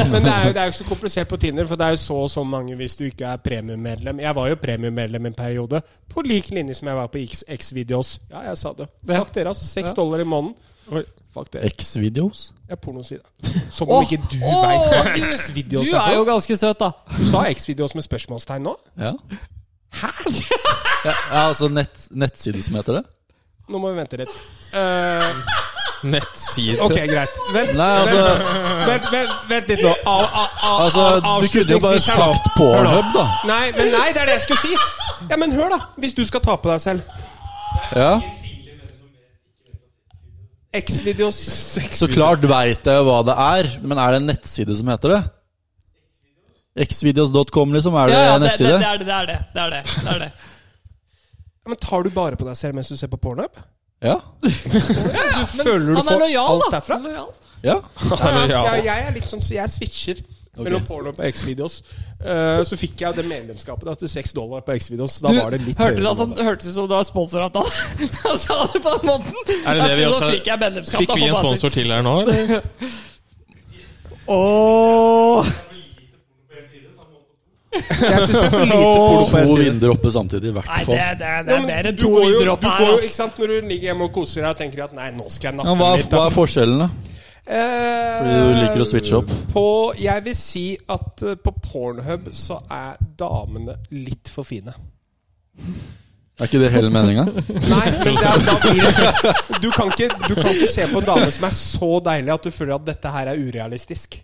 S1: Men det er, jo, det er jo ikke så komplisert på Tinder, for det er jo så og så mange hvis du ikke er premiummedlem. Jeg var jo premiummedlem en periode, på lik linje som jeg var på X- X-videos. Ja, jeg sa det. Fuck dere, ass. Seks dollar i måneden.
S4: Oi.
S1: Fuck dere.
S3: X-videos?
S1: Jeg er pornoside. Som om
S2: Åh,
S1: ikke du
S2: åh,
S1: veit hva
S2: du- Du
S1: X-videos
S2: er
S1: er.
S2: jo
S1: på.
S2: ganske søt, da.
S1: Du sa X-videos med spørsmålstegn nå?
S3: Ja. Hæ? Ja, ja, altså nett, nettside som heter det?
S1: Nå må vi vente litt. Eh,
S4: Nettside.
S1: ok, greit. Vent,
S3: Nei, altså,
S1: vent, vent, vent litt nå. Av, av, av,
S3: altså
S1: av-
S3: Du kunne jo bare
S1: avslutningsvis her nå.
S3: sagt
S1: Hør nå.
S3: Pornhub, da.
S1: Nei, men nei, det er det jeg skulle si. Ja, Men hør, da. Hvis du skal ta på deg selv
S3: Ja.
S1: X-videos
S3: Så klart veit jeg jo hva det er, men er det en nettside som heter det? Xvideos.com, liksom, er det
S2: Ja, ja, det, det,
S3: nettside?
S2: det er det. Det er det. det, er det, det, er det.
S1: Ja, men tar du bare på deg selv mens du ser på pornhub?
S3: Ja.
S1: Du føler du
S2: Han er
S1: får
S2: lojal,
S1: alt
S2: da.
S1: derfra?
S2: Han er lojal.
S3: ja.
S1: Ja,
S4: Ja.
S1: jeg er litt sånn, så jeg switcher mellom porno på X-videos. Eh, så fikk jeg det medlemskapet da, til 6 dollar på X-videos. så Da
S2: Du,
S1: var det litt
S2: hørte du
S1: høyere
S2: at han
S1: enn det.
S2: hørtes ut som det var sponsoravtale? Altså, Han sa det på den måten!
S4: Er det det vi også-
S2: Nå fikk jeg medlemskap.
S4: Fikk
S2: da,
S4: vi en
S2: for faen.
S4: sponsor til her nå? eller?
S2: Åh.
S1: Jeg syns det er for lite porno på
S3: To
S1: X-videos.
S3: vinder oppe samtidig, i hvert
S2: Nei, det,
S3: fall.
S2: det, det
S1: Ja,
S2: er
S1: men
S2: mer enn
S1: du
S2: to
S1: går jo,
S2: videre
S1: du
S2: opp her.
S1: går jo,
S2: ass.
S1: ikke sant, Når du ligger hjemme og koser deg og tenker at nei, nå skal jeg
S3: Ja,
S1: nappe
S3: hva, er-
S1: litt. da.
S3: hva er forskjellen, da?
S1: Eh,
S3: Fordi du liker å switche opp?
S1: På, jeg vil si at eh, på Pornhub så er damene litt for fine.
S3: Er ikke det hele meninga?
S1: Nei, men det er, da blir det du kan, ikke, du kan ikke se på en dame som er så deilig at du føler at dette her er urealistisk.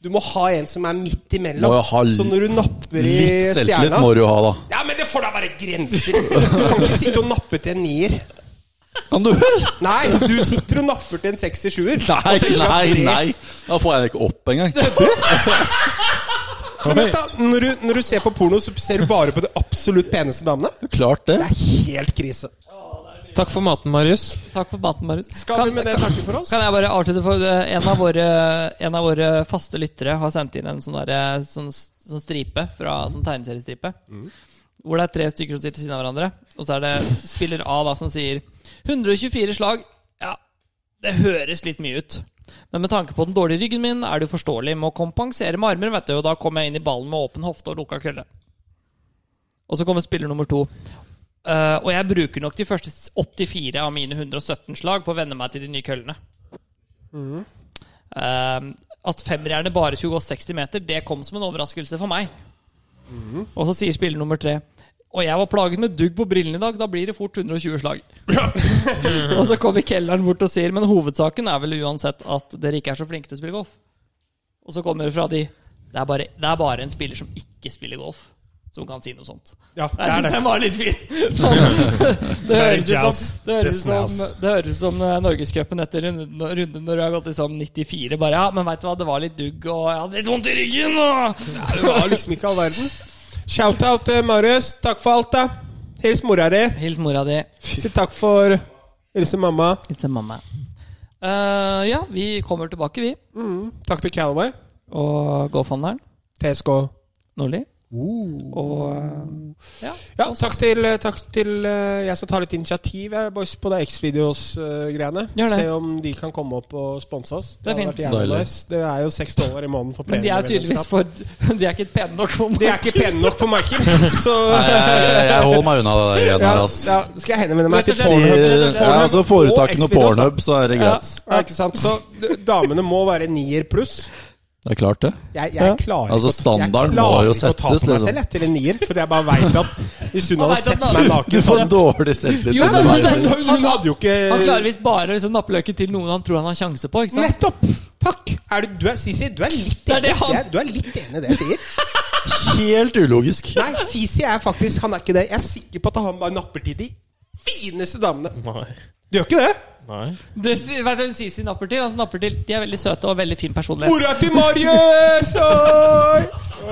S1: Du må ha en som er midt imellom.
S3: Må jo ha
S1: så når du napper i
S3: Litt selvtillit
S1: stjerna
S3: må du jo ha, da.
S1: Ja, men det får da være grenser! Du kan ikke sitte og nappe til en nier.
S3: Kan du vel?
S1: Nei, du sitter og napper til en sekser sjuer.
S3: Nei, nei, nei! Da får jeg det ikke opp engang.
S1: Men vent da, når du, når du ser på porno, så ser du bare på de absolutt peneste damene?
S3: Klart det.
S1: Det er helt krise.
S4: Takk for maten, Marius.
S2: Takk for maten, Marius.
S1: Skal vi med det takke for oss?
S2: Kan jeg bare avslutte for eh, en av, våre, en av våre faste lyttere har sendt inn en sånn, derre- sånn, sånn stripe fra sånn tegneseriestripe. Hvor det er tre stykker som sitter ved siden av hverandre. Og så er det spiller A da som sier 124 slag. Ja, det høres litt mye ut. Men med tanke på den dårlige ryggen min er det jo forståelig. Må kompensere med armer, vet du. Og da kommer jeg inn i ballen med åpen hofte og lukka kølle. Og så kommer spiller nummer to. Eh, og jeg bruker nok de første 84 av mine 117 slag på å venne meg til de nye køllene. Eh, at femmerne bare skulle gå 60 meter, det kom som en overraskelse for meg. Og så sier spiller nummer tre Og jeg var plaget med dugg på brillene i dag, da blir det fort 120 slag. og så kommer kelneren bort og sier Men hovedsaken er vel uansett at dere ikke er så flinke til å spille golf. Og så kommer det fra de det er, bare, det er bare en spiller som ikke spiller golf, som kan si noe sånt.
S1: Ja, det
S2: Jeg
S1: er
S2: syns
S1: det.
S2: den var litt fin. Sånn. Det
S1: er
S2: høres ut
S1: jazz.
S2: som, det høres ut
S1: Det er
S2: som,
S1: snazz.
S2: det høres ut som eh, Norgescupen etter runden runden når du har gått liksom 94. Bare ja, men veit du hva, det var litt dugg, og jeg hadde litt vondt i ryggen, og
S1: Det var liksom ikke all verden. Shout-out til Marius. Takk for alt, da. Hils mora di.
S2: Hils mora di.
S1: Si takk for Hilse mamma.
S2: Hils en mamma. Eh, ja, vi kommer tilbake, vi.
S1: Takk til Calaway.
S2: Og GoFunderen.
S1: TSK.
S2: Nordli.
S1: Uh.
S2: Og eh, ja.
S1: Ja,
S2: oss.
S1: takk til, takk til eh, Jeg skal ta litt initiativ, jeg, boys, på det X-videos-greiene.
S2: Gjør det.
S1: Se om de kan komme opp og sponse oss.
S2: Det er
S1: hadde
S2: fint.
S1: vært jævlig
S3: Deilig.
S1: nice. Det er jo seks dollar i måneden for
S2: Men de er
S1: premiemedlemskap.
S2: tydeligvis for De er ikke pene nok for
S1: De
S2: meg.
S1: er ikke pene nok for Michael, så
S3: Nei, jeg, jeg, jeg holder meg unna det der
S1: ja,
S3: greiene her, ass.
S1: ja, Skal jeg henvende meg til
S2: Rett og
S3: Si-
S2: slett.
S1: Pornhub?
S3: Ja, altså Foretakene og
S1: Xvideos, da.
S3: Pornhub, så er det greit.
S1: Ja, ikke sant? Så d- damene må være nier pluss.
S3: Det er klart, det.
S1: Jeg, jeg klarer
S3: Altså,
S1: ikke å- jeg
S3: standarden må
S1: klarer
S3: jo
S1: ikke å ta
S3: settes,
S1: på meg
S3: liksom.
S1: selv jeg, til en nier, fordi jeg bare veit at hvis hun
S2: Han
S1: hadde
S2: vet at
S1: sett
S2: den
S1: meg
S2: har-
S3: Du
S1: naken så
S3: får
S1: hadde-
S3: dårlig selvtillit.
S2: Jo,
S1: Nei,
S3: til
S1: nei,
S3: meg,
S1: nei, nei,
S3: selv.
S1: Hun hadde jo
S2: Han klarer
S1: ikke
S2: visst bare å liksom, nappe løken til noen han tror han har sjanse på. ikke sant?
S1: Nettopp! Takk! Er du, du er, Sisi, du er litt
S2: er
S1: enig
S2: det han-
S1: Jeg- Du er litt enig i det jeg sier.
S3: Helt ulogisk.
S1: Nei, Sisi er faktisk Han er ikke det. Jeg er sikker på at han bare napper til de fineste damene.
S4: Nei.
S1: Du gjør ikke det?
S4: Nei.
S2: Det, vet du, hva Sisi napper til. Han napper til Altså, De er veldig søte og veldig fin personlighet.
S1: Mora til Marius! Oi!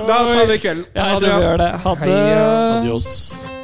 S1: Da tar vi kvelden.
S2: Ja, jeg tror vi gjør det. Ha det.
S1: Heia.
S3: Adios.